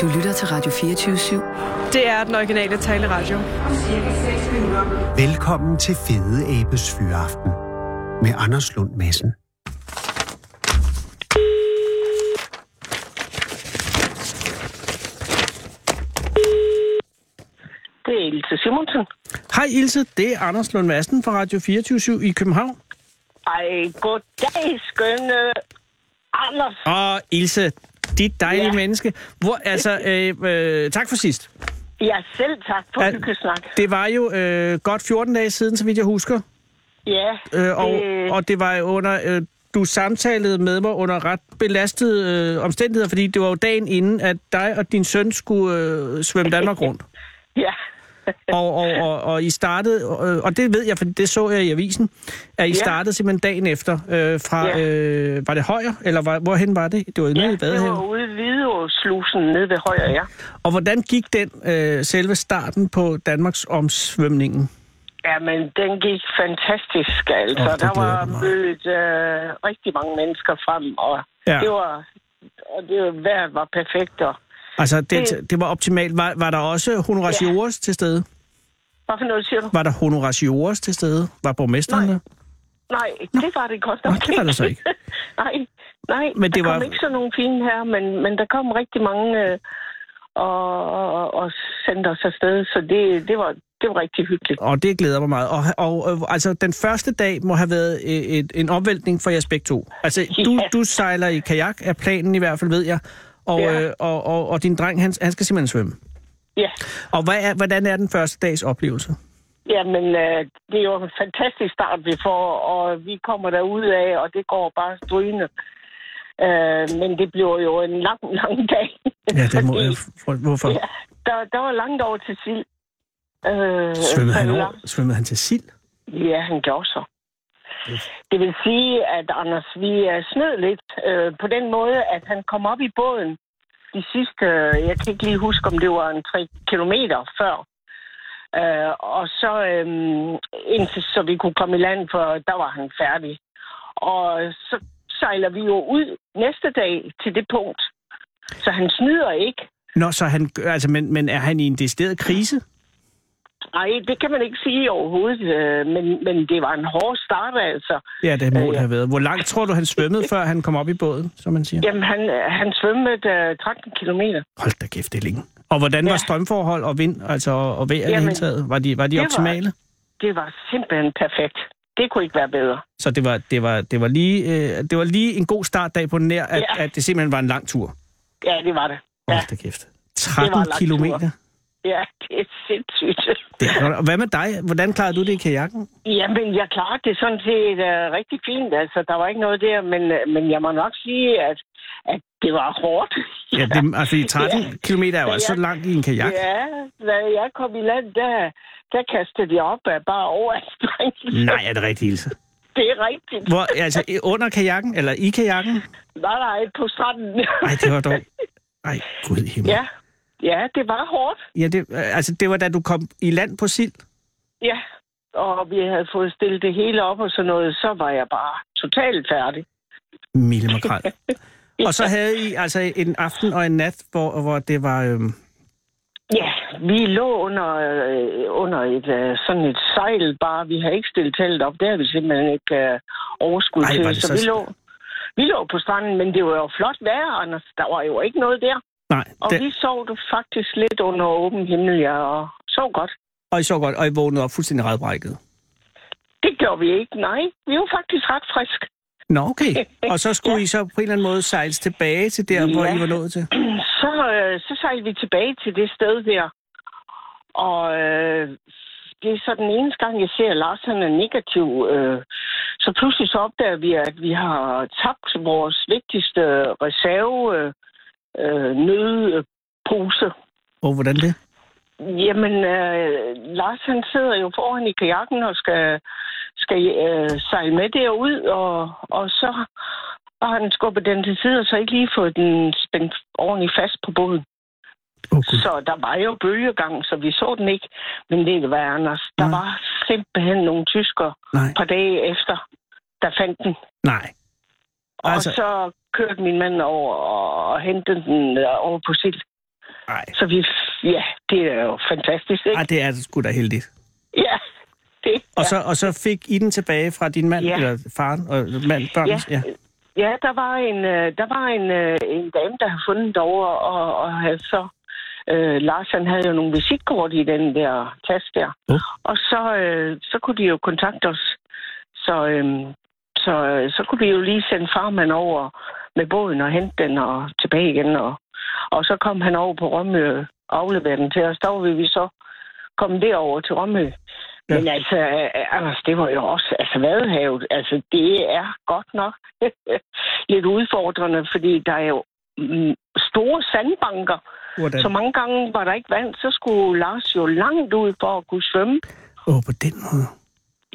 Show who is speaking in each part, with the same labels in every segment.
Speaker 1: Du lytter til Radio 24 /7.
Speaker 2: Det er den originale taleradio.
Speaker 3: Velkommen til Fede Abes Fyraften med Anders Lund Madsen.
Speaker 4: Det er Ilse Simonsen.
Speaker 5: Hej Ilse, det er Anders Lund Madsen fra Radio 24 i København.
Speaker 4: Ej, goddag, skønne Anders.
Speaker 5: Og Ilse, dit dejlige ja. menneske. Hvor, altså, øh, øh, tak for sidst.
Speaker 4: Ja, selv tak for
Speaker 5: Al-
Speaker 4: Al- hyggesnak.
Speaker 5: Det var jo øh, godt 14 dage siden, så vidt jeg husker.
Speaker 4: Ja,
Speaker 5: Øh, og,
Speaker 4: det-
Speaker 5: og det var jo under... Øh, du samtalede med mig under ret belastede øh, omstændigheder, fordi det var jo dagen inden, at dig og din søn skulle øh, svømme Danmark rundt.
Speaker 4: ja.
Speaker 5: Og, og, og, og I startede, øh, og det ved jeg, for det så jeg i avisen, at I ja.
Speaker 4: Ja.
Speaker 5: startede simpelthen dagen efter øh, fra, ja.
Speaker 4: Ja.
Speaker 5: øh, var det Højer, eller var, hvorhen var det? Det var nede
Speaker 4: ja,
Speaker 5: i
Speaker 4: det
Speaker 5: Vadehavet.
Speaker 4: var ude i Hvidovre-slusen nede ved højre, ja.
Speaker 5: Og hvordan gik den øh, selve starten på Danmarks omsvømningen?
Speaker 4: Ja, men den gik fantastisk, altså.
Speaker 5: Åh,
Speaker 4: Oh,
Speaker 5: det
Speaker 4: der
Speaker 5: glæder
Speaker 4: var
Speaker 5: mig.
Speaker 4: mødt øh, rigtig mange mennesker frem, og
Speaker 5: Ja.
Speaker 4: ja. det var... Og det var, vejret var perfekt, og...
Speaker 5: Altså, det,
Speaker 4: Det-
Speaker 5: det var optimalt. Var, var der også honoratiores ja. til stede?
Speaker 4: Hvad for noget siger du?
Speaker 5: Var der honoratiores til stede? Var borgmesteren
Speaker 4: Nej.
Speaker 5: der?
Speaker 4: Nej, det var det godt
Speaker 5: Nå,
Speaker 4: nok
Speaker 5: det var der så ikke.
Speaker 4: nej, nej,
Speaker 5: Men
Speaker 4: men
Speaker 5: det
Speaker 4: det der
Speaker 5: var-
Speaker 4: kom ikke sådan nogle fine her, men, men der kom rigtig mange øh, og, og, og sendte os afsted, så det, det, var, det var rigtig hyggeligt.
Speaker 5: Og det glæder mig meget. Og, og, øh, altså, den første dag må have været øh, et, en omvæltning for jeres begge to. Altså, du,
Speaker 4: Ja.
Speaker 5: du sejler i kajak, er planen i hvert fald, ved jeg. Og,
Speaker 4: Ja.
Speaker 5: øh, og, og, og din dreng, han, han skal simpelthen svømme.
Speaker 4: Ja,
Speaker 5: Og hvad er, hvordan er den første dags oplevelse?
Speaker 4: ja men øh, det er jo en fantastisk start, vi får, og vi kommer derud af, og det går bare strygende. Øh, men det bliver jo en lang, lang dag.
Speaker 5: Ja, det må
Speaker 4: Fordi-
Speaker 5: jeg... Hvorfor?
Speaker 4: Ja, der, der var langt over til sild. Øh,
Speaker 5: Svømmede, han
Speaker 4: så
Speaker 5: over,
Speaker 4: langt-
Speaker 5: svømmede han til sild?
Speaker 4: Ja, han gjorde så. Det vil sige, at Anders, vi er snød lidt øh, på den måde, at han kom op i båden de sidste, øh, jeg kan ikke lige huske, om det var en 3 kilometer før. Øh, og så øh, indtil så vi kunne komme i land, for der var han færdig. Og så sejler vi jo ud næste dag til det punkt. Så han snyder ikke.
Speaker 5: Nå, så han, gør- altså, men, men er han i en decideret krise?
Speaker 4: Nej, det kan man ikke sige overhovedet, øh, men, men det var en hård start altså.
Speaker 5: Ja, det må
Speaker 4: Øh,
Speaker 5: det
Speaker 4: ja.
Speaker 5: have været. Hvor langt tror du, han svømmede, før han kom op i båden, som man siger?
Speaker 4: Jamen, han, han svømmede øh, 13 kilometer.
Speaker 5: Hold da kæft, det er længe. Og hvordan var
Speaker 4: Ja.
Speaker 5: strømforhold og vind, altså og og vejr i det
Speaker 4: Jamen,
Speaker 5: hele taget? Var de, var de
Speaker 4: det var-
Speaker 5: optimale? Var...
Speaker 4: Det var simpelthen perfekt. Det kunne ikke være bedre.
Speaker 5: Så det var, det, var, det, var lige, øh, det var lige en god startdag på den nær, at, ja.
Speaker 4: Ja.
Speaker 5: at det simpelthen var en lang tur.
Speaker 4: Ja, det var det. Ja.
Speaker 5: Hold da kæft. 13
Speaker 4: Det var en lang
Speaker 5: kilometer.
Speaker 4: Ja, det er sindssygt.
Speaker 5: Det er, godt. og hvad med dig? Hvordan klarede du det i kajakken?
Speaker 4: Jamen, jeg klarede det sådan set uh, rigtig fint. Altså, der var ikke noget der, men, øh, men jeg må nok sige, at, at det var hårdt.
Speaker 5: Ja, det, altså 13 ja. kilometer er jo
Speaker 4: Ja.
Speaker 5: altså så langt i en kajak. Ja.
Speaker 4: Ja, da jeg kom i land, der, der kastede de op af bare over en streng.
Speaker 5: Nej, er det rigtigt, Ilse?
Speaker 4: Det er rigtigt.
Speaker 5: Hvor, altså i- under kajakken, eller i kajakken?
Speaker 4: Nej, nej, på stranden.
Speaker 5: Nej, det var dog... Ej, gud i himmel.
Speaker 4: ja. ja, det var hårdt.
Speaker 5: Ja, det, øh, altså, det var da du kom i land på sild.
Speaker 4: Ja, og vi havde fået stillet det hele op og sådan noget, så var jeg bare totalt færdig.
Speaker 5: Mille Makrel. og så havde I altså en aften og en nat, hvor, hvor det var... Øhm,
Speaker 4: Ja, vi lå under, øh, under et øh, sådan et sejl bare. Vi har ikke stillet teltet op. Det har vi simpelthen ikke øh, overskud
Speaker 5: Ej,
Speaker 4: til.
Speaker 5: var det
Speaker 4: Så,
Speaker 5: så
Speaker 4: vi,
Speaker 5: s-
Speaker 4: lå, vi lå på stranden, men det var jo flot vejr, Anders. Der var jo ikke noget der.
Speaker 5: nej,
Speaker 4: Og
Speaker 5: det,
Speaker 4: vi sov du faktisk lidt under åben himmel, ja, og sov godt.
Speaker 5: og I så godt, og I vågnede op fuldstændig redbrækket.
Speaker 4: Det gjorde vi ikke, nej. Vi var faktisk ret friske.
Speaker 5: Nå, okay. Og så skulle ja. I så på en eller anden måde sejles tilbage til der, ja. hvor
Speaker 4: Ja.
Speaker 5: I var nået til.
Speaker 4: så, øh, så sejlede vi tilbage til det sted der. Og øh, det er så den eneste gang, jeg ser, at Lars han er negativ. Øh, så pludselig så opdager vi, at vi har tabt vores vigtigste reserve øh, øh, nødpose.
Speaker 5: Og hvordan det?
Speaker 4: Jamen, øh, Lars han sidder jo foran i kajakken og skal, skal øh, sejle med derud, og, og så har han skubbet den til side, og så ikke lige fået den spændt ordentligt fast på båden.
Speaker 5: Oh, Gud.
Speaker 4: Så der var jo bølgegang, så vi så den ikke. Men det var Anders. Der
Speaker 5: Nej.
Speaker 4: var simpelthen nogle tyskere
Speaker 5: Nej,
Speaker 4: et par dage efter, der fandt den.
Speaker 5: nej.
Speaker 4: Og
Speaker 5: Altså-
Speaker 4: altså... så kørte min mand over og hentede den øh, over på sild.
Speaker 5: Ej.
Speaker 4: Så vi, ja, det er jo fantastisk, ikke?
Speaker 5: Ej, Ah, det er sgu da heldigt.
Speaker 4: Ja, det
Speaker 5: Og,
Speaker 4: er-
Speaker 5: så, og så fik I den tilbage fra din mand,
Speaker 4: Ja.
Speaker 5: eller faren og mand, børn.
Speaker 4: Ja. Ja, der var en, øh, der var en, øh, en dame, der havde fundet det over, og, og havde så... Øh, Lars, han havde jo nogle visitkort i den der taske der.
Speaker 5: Oh.
Speaker 4: Og så, øh, så kunne de jo kontakte os. Så, øh, så, øh, så kunne vi jo lige sende farmand over med båden og hente den og tilbage igen. Og, og så kom han over på Rømø og afleverede den til os. Der var vi så kommet derover til Rømø.
Speaker 5: Ja.
Speaker 4: Ja. Men altså, øh, Anders, det var jo også, altså Vadehavet, altså det er godt nok lidt udfordrende, fordi der er jo mm, store sandbanker,
Speaker 5: Hvordan?
Speaker 4: så mange gange var der ikke vand, så skulle Lars jo langt ud for at kunne svømme.
Speaker 5: Åh, oh, på den måde.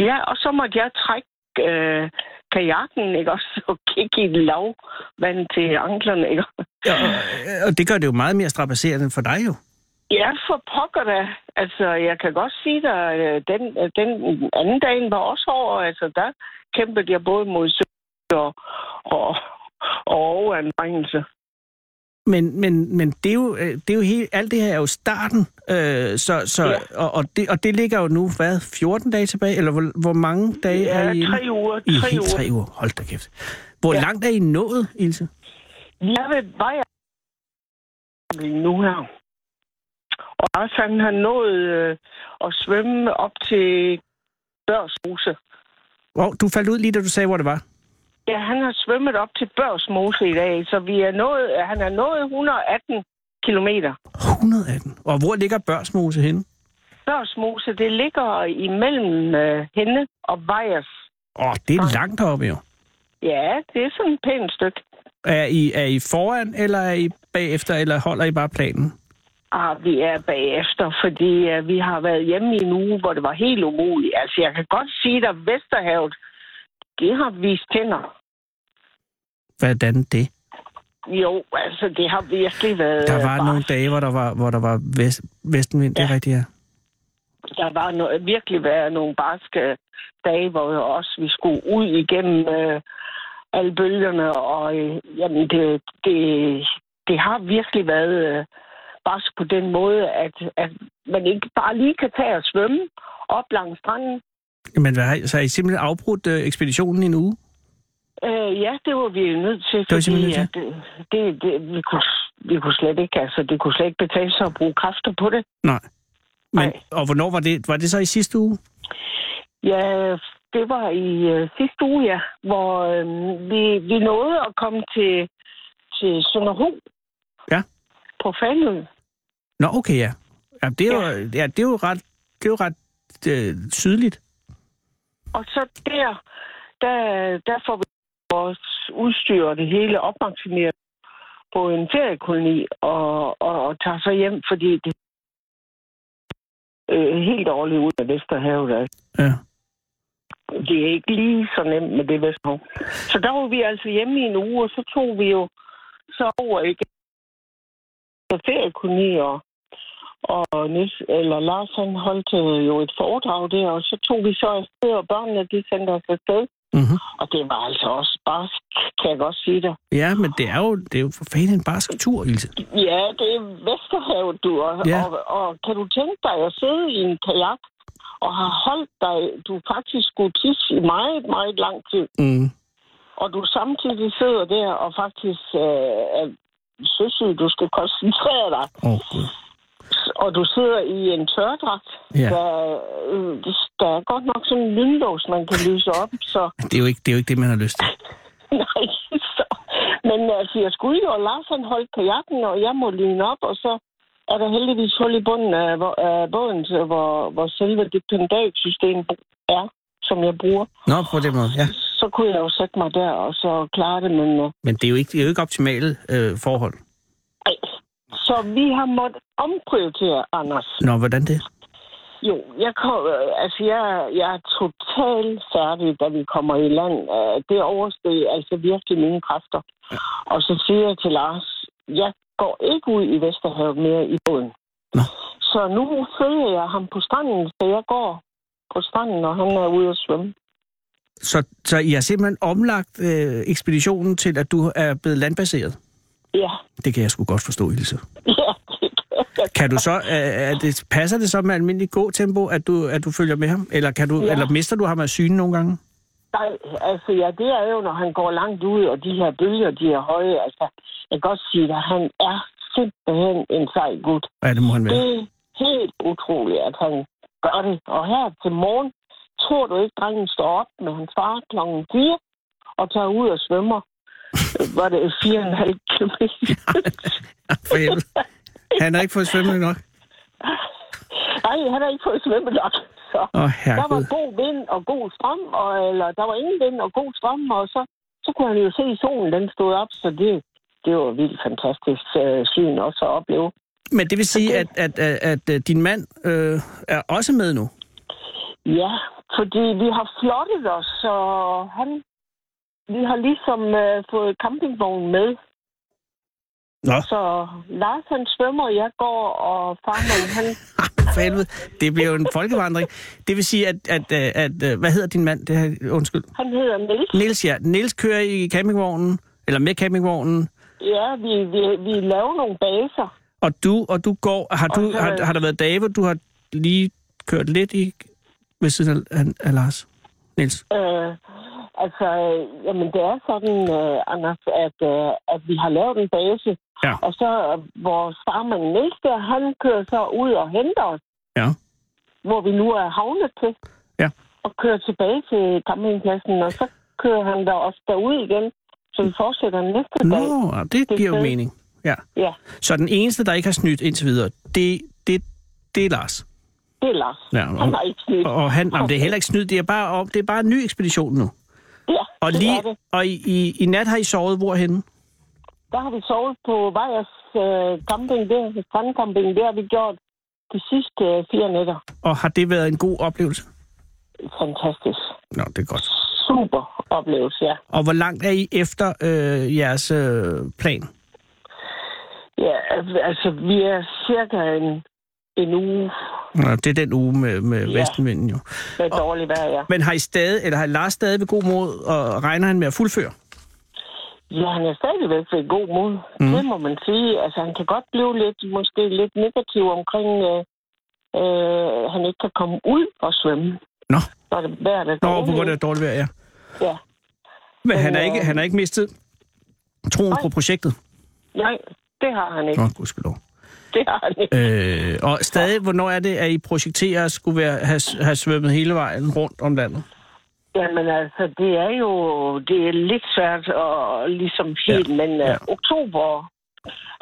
Speaker 4: Ja, og så måtte jeg trække øh, kajakken, ikke også? Og kigge i lav vand til anklerne, ikke?
Speaker 5: Ja, og, og det gør det jo meget mere strapasserende for dig jo.
Speaker 4: Ja, for pokker da. Altså, jeg kan godt sige dig, øh, den, øh, den anden dagen var også hård. Altså, der kæmpede jeg både mod sø og, og, og overanbringelse.
Speaker 5: Men, men, men det er jo, øh, det er jo helt, alt det her er jo starten, øh, så, så, ja.
Speaker 4: Ja.
Speaker 5: og, og, det, og det ligger jo nu, hvad, 14 dage tilbage, eller hvor, hvor mange dage er
Speaker 4: Ja,
Speaker 5: I inde?
Speaker 4: tre uger.
Speaker 5: I
Speaker 4: Tre
Speaker 5: helt
Speaker 4: uger.
Speaker 5: tre uger, hold da kæft. Hvor ja. langt er I nået, Ilse?
Speaker 4: Jeg ved, hvad jeg lige nu her. Og Lars, han har nået øh, at svømme op til Børsmose.
Speaker 5: Oh, du faldt ud lige, da du sagde, hvor det var.
Speaker 4: Ja, han har svømmet op til Børsmose i dag, så vi er nået, han er nået 118 kilometer.
Speaker 5: 118. Og hvor ligger Børsmose henne?
Speaker 4: Børsmose, det ligger imellem øh, hende og Vejers.
Speaker 5: Åh, oh, det er langt heroppe jo.
Speaker 4: Ja, det er sådan et pænt stykke.
Speaker 5: Er I, er I foran, eller er I bagefter, eller holder I bare planen?
Speaker 4: Ah, vi er bagefter, fordi øh, vi har været hjemme i en uge, hvor det var helt umuligt. Altså, jeg kan godt sige at Vesterhavet, det har vist tænder.
Speaker 5: Hvordan det?
Speaker 4: Jo, altså, det har virkelig været...
Speaker 5: Der
Speaker 4: øh,
Speaker 5: var nogle dage, hvor der var, hvor der var vest, vestenvind, ja. det er rigtigt, ja.
Speaker 4: der var no- virkelig været nogle barske dage, hvor vi også vi skulle ud igennem øh, alle bølgerne, og øh, jamen, det, det, det har virkelig været øh, barsk på den måde, at, at man ikke bare lige kan tage og svømme op langs stranden.
Speaker 5: Men hvad, har I- så har I simpelthen afbrudt øh, ekspeditionen i en uge?
Speaker 4: Øh, ja, det var vi nødt til,
Speaker 5: var I simpelthen nødt
Speaker 4: at, øh, det, det, vi, kunne, vi kunne slet ikke, altså, det kunne slet ikke betale sig at bruge kræfter på det.
Speaker 5: Nej. Men,
Speaker 4: Nej.
Speaker 5: og hvornår var det? Var det så i sidste uge?
Speaker 4: Ja, det var i øh, sidste uge, ja, hvor øh, vi, vi nåede at komme til, til Sønderho.
Speaker 5: Ja.
Speaker 4: På Fanø.
Speaker 5: Nå, okay, ja. Ja, det er jo,
Speaker 4: Ja.
Speaker 5: ja, det er jo ret, det er jo ret øh, sydligt.
Speaker 4: Og så der, der, der får vi vores udstyr og det hele opmaksimeret på en feriekoloni og, og, og tager så hjem, fordi det øh, helt dårligt ud af Vesterhavet. altså.
Speaker 5: Ja.
Speaker 4: det er ikke lige så nemt med det Vesterhav. Så der var vi altså hjemme i en uge, og så tog vi jo så over igen på feriekoloni, og, og Niels, eller Lars han holdt øh, jo et foredrag der, og så tog vi så afsted, og børnene de sendte os afsted.
Speaker 5: Mm-hmm.
Speaker 4: Og det var altså også barsk, kan jeg godt sige dig.
Speaker 5: Ja, men det er jo, det er jo for fanden en barsk tur, Ilse.
Speaker 4: Ja, det er Vesterhavet, du. Og,
Speaker 5: Ja.
Speaker 4: ja. og, og kan du tænke dig at sidde i en kajak og har holdt dig, du faktisk skulle tisse i meget, meget lang tid.
Speaker 5: Mm.
Speaker 4: og du samtidig sidder der og faktisk øh, er søsyg, du skal koncentrere dig,
Speaker 5: Oh, Gud.
Speaker 4: og du sidder i en tørdragt,
Speaker 5: Ja.
Speaker 4: ja. der, øh, der er godt nok sådan en lynlås, man kan lyse op, så
Speaker 5: Det er jo ikke det, er jo ikke det man har lyst til.
Speaker 4: nej, så. Men altså, jeg skulle jo, og Lars han holdt kajakken, og jeg må lyne op, og så er der heldigvis hul i bunden af, hvor- af båden, så hvor, hvor selve det pendalsystem er, som jeg bruger.
Speaker 5: Nå, på den måde, ja.
Speaker 4: Så kunne jeg jo sætte mig der, og så klare det, men... Øh,
Speaker 5: Men det er jo ikke, det er jo ikke optimale øh, forhold.
Speaker 4: Ej, Så vi har måttet omprioritere, Anders.
Speaker 5: Nå, hvordan det?
Speaker 4: Jo, jeg, kom, øh, altså jeg, jeg er totalt færdig, da vi kommer i land. Øh, Det oversteg altså virkelig mine kræfter. Og så siger jeg til Lars, jeg går ikke ud i Vesterhavet mere i båden.
Speaker 5: Nå.
Speaker 4: Så nu følger jeg ham på stranden, så jeg går på stranden, når han er ude at svømme.
Speaker 5: Så, så I har simpelthen omlagt øh, ekspeditionen til, at du er blevet landbaseret?
Speaker 4: Ja,
Speaker 5: Det kan jeg sgu godt forstå, Ilse.
Speaker 4: ja, det kan
Speaker 5: Kan du så, er, er det, passer det så med almindelig gåtempo, at du, at du følger med ham? Eller, kan du, ja.
Speaker 4: Ja.
Speaker 5: eller mister du ham af syne nogle gange?
Speaker 4: Nej, altså ja, det er jo, når han går langt ud, og de her bølger, de er høje. Altså, jeg kan godt sige dig, han er simpelthen en sej gut.
Speaker 5: Ja, det må han være.
Speaker 4: Det er helt utroligt, at han gør det. Og her til morgen, tror du ikke, drengen står op med hans far kl. 4 og tager ud og svømmer. Øh, Var det 4,5 km?
Speaker 5: For helvede. Han har ikke fået svømmet nok.
Speaker 4: Nej, han har ikke fået svømmet nok. Så.
Speaker 5: Åh,
Speaker 4: Der var
Speaker 5: herregud.
Speaker 4: god vind og god strøm, og, eller der var ingen vind og god strøm, og så, så kunne han jo se solen, den stod op, så det, det var vildt fantastisk øh, syn også at opleve.
Speaker 5: Men det vil sige, at, at, at, at øh, din mand øh, er også med nu?
Speaker 4: Ja, fordi vi har flottet os, så han, vi har ligesom øh, fået campingvognen med.
Speaker 5: Nå.
Speaker 4: Så Lars han svømmer, jeg går, og farmand han...
Speaker 5: For helvede. Det bliver jo en folkevandring. Det vil sige, at, at, at, at øh, hvad hedder din mand? Det her, undskyld.
Speaker 4: Han hedder Niels.
Speaker 5: Niels, ja. Niels kører i campingvognen, eller med campingvognen,
Speaker 4: Ja, vi, vi, vi laver nogle baser.
Speaker 5: og du, og du går... Har, du,
Speaker 4: så-
Speaker 5: har, har der været dage, hvor du har lige kørt lidt i, ved siden af, af, af Lars? Niels?
Speaker 4: Øh, altså, øh, jamen det er sådan, øh, Anders, at, øh, at vi har lavet en base,
Speaker 5: Ja.
Speaker 4: og så øh, vores farmand Niels der, han kører så ud og henter os,
Speaker 5: Ja.
Speaker 4: hvor vi nu er havnet til,
Speaker 5: Ja.
Speaker 4: og kører tilbage til campingpladsen, og så kører han der også derud igen, så vi fortsætter næste dag.
Speaker 5: Nå, det
Speaker 4: er
Speaker 5: giver jo
Speaker 4: fedt.
Speaker 5: mening. Ja.
Speaker 4: Ja,
Speaker 5: Så den eneste, der ikke har snydt indtil videre, det, det, det er Lars.
Speaker 4: det er Lars.
Speaker 5: Ja, og-
Speaker 4: han har ikke snydt.
Speaker 5: Og, og han, jamen, det er heller ikke snydt, det er bare, om- det er bare en ny ekspedition nu.
Speaker 4: Ja,
Speaker 5: Og,
Speaker 4: det
Speaker 5: lige,
Speaker 4: er det.
Speaker 5: og i, i, i nat har I sovet hvorhenne?
Speaker 4: Der har vi sovet på Vejers øh, camping der, strandcamping, det har vi gjort de sidste øh, fire nætter.
Speaker 5: Og har det været en god oplevelse?
Speaker 4: Fantastisk.
Speaker 5: Nå, det er godt.
Speaker 4: Super oplevelse, ja.
Speaker 5: Og hvor langt er I efter øh, jeres øh, plan?
Speaker 4: ja. Altså, vi er cirka en, en uge
Speaker 5: Nå, det er den uge med, med ja.
Speaker 4: Ja.
Speaker 5: Vestenvinden jo.
Speaker 4: med dårligt vejr, ja.
Speaker 5: Men har I stadig, eller har Lars stadig ved god mod, og regner han med at fuldføre?
Speaker 4: Ja, han er stadigvæk ved god mod.
Speaker 5: Mhm.
Speaker 4: Mm. Det må man sige. Altså, han kan godt blive lidt, måske lidt negativ omkring, øh, øh, han ikke kan komme ud og svømme.
Speaker 5: Nå,
Speaker 4: Når det vejr er
Speaker 5: Nå på
Speaker 4: dårligt.
Speaker 5: grund af dårligt vejr, ja.
Speaker 4: Ja.
Speaker 5: Men han har
Speaker 4: øh,
Speaker 5: ikke, han har ikke mistet troen
Speaker 4: nej.
Speaker 5: på projektet?
Speaker 4: Nej, det har han ikke.
Speaker 5: Nå, gudskelov.
Speaker 4: Det har han ikke.
Speaker 5: Øh, og stadig, hvornår er det, at I projekterer at skulle være, have, have svømmet hele vejen rundt om landet?
Speaker 4: Jamen altså, det er jo det er lidt svært at ligesom helt, ja. men
Speaker 5: ja.
Speaker 4: ja. oktober,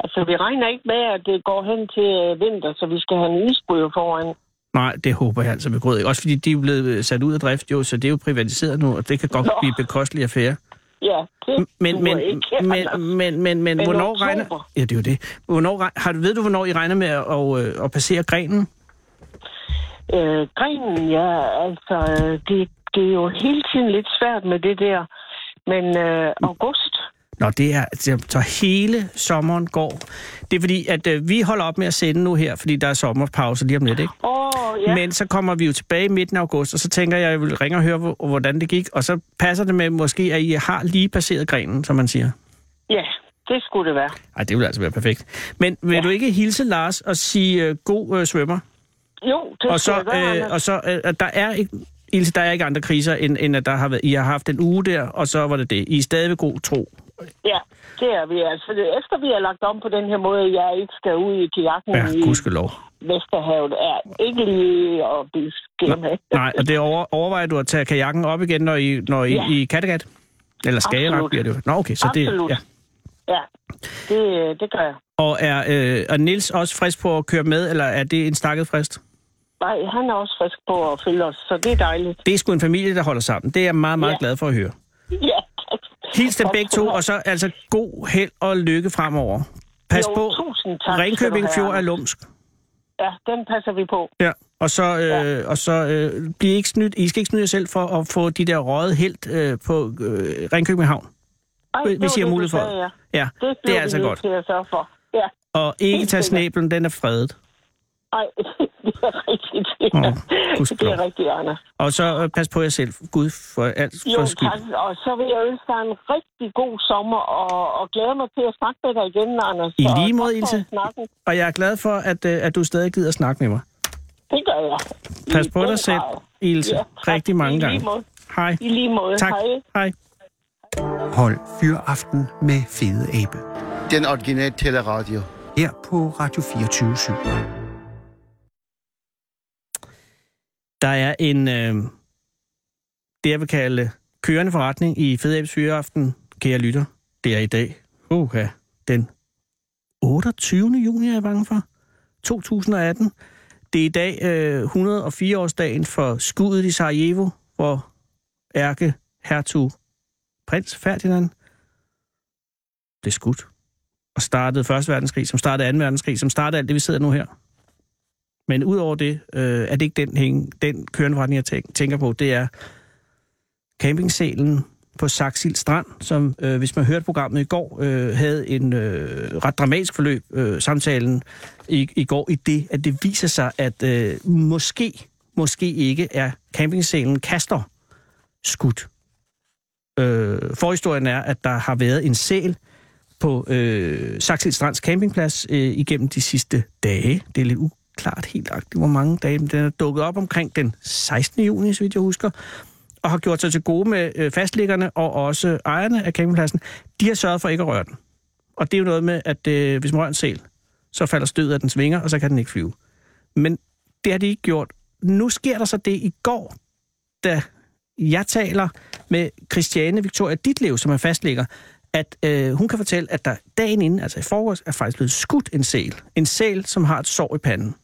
Speaker 4: altså vi regner ikke med, at det går hen til øh, vinter, så vi skal have en isbryder foran.
Speaker 5: Nej, det håber jeg altså ved grød. Også fordi de er blevet øh, sat ud af drift, jo, så det er jo privatiseret nu, og det kan godt Nå.
Speaker 4: Nå.
Speaker 5: blive bekostelig affære.
Speaker 4: Ja, det
Speaker 5: Men,
Speaker 4: duer
Speaker 5: men,
Speaker 4: ikke. Altså,
Speaker 5: men,
Speaker 4: Anders.
Speaker 5: men, men, men, altså. men hvornår
Speaker 4: oktober?
Speaker 5: regner... Ja, det er jo det. Hvornår, reg- har, du- ved du, hvornår I regner med at, og, øh, at passere grenen?
Speaker 4: Øh, grenen, ja, altså, øh, det, det er jo hele tiden lidt svært med det der, men øh, august,
Speaker 5: Nå, det er... Så hele sommeren går. Det er fordi, at øh, vi holder op med at sende nu her, fordi der er sommerpause lige om lidt, ikke?
Speaker 4: åh oh,
Speaker 5: Ja.
Speaker 4: ja,
Speaker 5: Men så kommer vi jo tilbage i midten af august, og så tænker jeg, at jeg vil ringe og høre, hvor- hvordan det gik. Og så passer det med måske, at I har lige passeret grenen, som man siger.
Speaker 4: ja, det skulle det være.
Speaker 5: Ej, det ville altså være perfekt. Men vil ja. du ikke hilse Lars og sige øh, god øh, svømmer?
Speaker 4: Jo, det
Speaker 5: Og så,
Speaker 4: skulle det være,
Speaker 5: øh,
Speaker 4: Anders.
Speaker 5: og så øh, at der er ikke... Ilse, der er ikke andre kriser, end, end at der har været, I har haft en uge der, og så var det det. I er stadig ved god tro.
Speaker 4: Ja, det er vi altså. Efter vi har lagt om på den her måde, at jeg ikke skal ud i kajakken
Speaker 5: Ja,
Speaker 4: ja, i
Speaker 5: gudskelov.
Speaker 4: Vesterhavet, er ikke lige at blive skæmt af.
Speaker 5: Nej, og det over, overvejer du at tage kajakken op igen, når I, når I, ja.
Speaker 4: Ja.
Speaker 5: I er i Kattegat? Eller Skagerrak
Speaker 4: Absolut.
Speaker 5: bliver det jo. Nå, okay, så
Speaker 4: Absolut.
Speaker 5: det... Ja.
Speaker 4: Ja, det, det gør jeg.
Speaker 5: Og er, øh, er Nils også frisk på at køre med, eller er det en stakket frist?
Speaker 4: Nej, han er også frisk på at følge os, så det er dejligt.
Speaker 5: Det er sgu en familie, der holder sammen. Det er jeg meget, meget ja.
Speaker 4: Ja.
Speaker 5: glad for at høre.
Speaker 4: Ja, tak.
Speaker 5: Hils dem
Speaker 4: Tak
Speaker 5: begge
Speaker 4: skal
Speaker 5: to,
Speaker 4: du have.
Speaker 5: og så altså god held og lykke fremover. Pas
Speaker 4: Jo,
Speaker 5: på,
Speaker 4: tusind tak skal
Speaker 5: Ringkøbing
Speaker 4: du have,
Speaker 5: Fjord er
Speaker 4: Anders.
Speaker 5: lumsk.
Speaker 4: Ja, den passer vi på.
Speaker 5: Ja, og så, øh, ja. og så øh, bliv ikke snydt. I skal ikke snyde jer selv for at få de der røde helt øh, på øh, Ringkøbing Havn.
Speaker 4: Ej,
Speaker 5: Vi-
Speaker 4: det
Speaker 5: vi
Speaker 4: var
Speaker 5: siger
Speaker 4: det, du
Speaker 5: mulighed for
Speaker 4: sagde, ja.
Speaker 5: Ja,
Speaker 4: Det,
Speaker 5: det
Speaker 4: bliver
Speaker 5: er
Speaker 4: vi
Speaker 5: altså
Speaker 4: nødt
Speaker 5: godt.
Speaker 4: til at sørge for. Ja.
Speaker 5: Og ikke
Speaker 4: Helt
Speaker 5: tage
Speaker 4: sikkert.
Speaker 5: snæblen, den er fredet.
Speaker 6: Nej, det er rigtigt. Det er,
Speaker 5: Åh, gudskelov.
Speaker 6: det er rigtigt, Anders.
Speaker 5: Og så øh, pas på jer selv. Gud for alt
Speaker 6: Jo,
Speaker 5: for skyld.
Speaker 6: tak. Og så vil jeg ønske dig en rigtig god sommer, og, og glæder mig til at snakke med dig igen, Anders.
Speaker 5: I
Speaker 6: Og
Speaker 5: lige
Speaker 6: tak
Speaker 5: måde,
Speaker 6: for
Speaker 5: Ilse.
Speaker 6: snakken.
Speaker 5: Og jeg er glad for, at, øh, at du stadig gider at snakke med mig.
Speaker 6: Det gør jeg.
Speaker 5: Pas
Speaker 6: I
Speaker 5: på
Speaker 6: den
Speaker 5: dig selv,
Speaker 6: grad.
Speaker 5: Ilse.
Speaker 6: Ja, tak.
Speaker 5: Rigtig mange
Speaker 6: I lige
Speaker 5: gange.
Speaker 6: måde.
Speaker 5: Hej.
Speaker 6: I lige måde.
Speaker 5: Tak.
Speaker 6: Hej.
Speaker 5: Hej.
Speaker 3: Hold fyraften med Fede Abe.
Speaker 7: Den originale teleradio.
Speaker 3: Her på Radio 24 7.
Speaker 5: Der er en, øh, det jeg vil kalde kørende forretning i Fede Abes Fyreaften, kære lytter. Det er i dag, uha, den 28. juni, er jeg bange for, 2018. Det er i dag øh, 104-årsdagen for skuddet i Sarajevo, hvor ærke hertug prins Ferdinand blev skudt og startede 1. verdenskrig, som startede 2. verdenskrig, som startede alt det, vi sidder nu her. Men udover det, øh, er det ikke den, hæng, den kørende forretning, jeg tænk, tænker på. Det er campingsalen på Saxil Strand, som, øh, hvis man hørte programmet i går, øh, havde en øh, ret dramatisk forløb, øh, samtalen i, i går, i det, at det viser sig, at øh, måske, måske ikke er campingsalen Kaster skudt. Øh, forhistorien er, at der har været en sæl, på øh, Saxil Strands campingplads øh, igennem de sidste dage. Det er lidt uklart helt agtigt, hvor mange dage. Men den er dukket op omkring den 16. juni, så vidt jeg husker, og har gjort sig til gode med øh, fastliggerne og også ejerne af campingpladsen. De har sørget for ikke at røre den. Og det er jo noget med, at øh, hvis man rører en sæl, så falder stødet af dens vinger, og så kan den ikke flyve. Men det har de ikke gjort. Nu sker der så det i går, da jeg taler med Christiane Victoria Ditlev, som er fastlægger, at øh, hun kan fortælle, at der dagen inden, altså i forårs, er faktisk blevet skudt en sæl. En sæl, som har et sår i panden.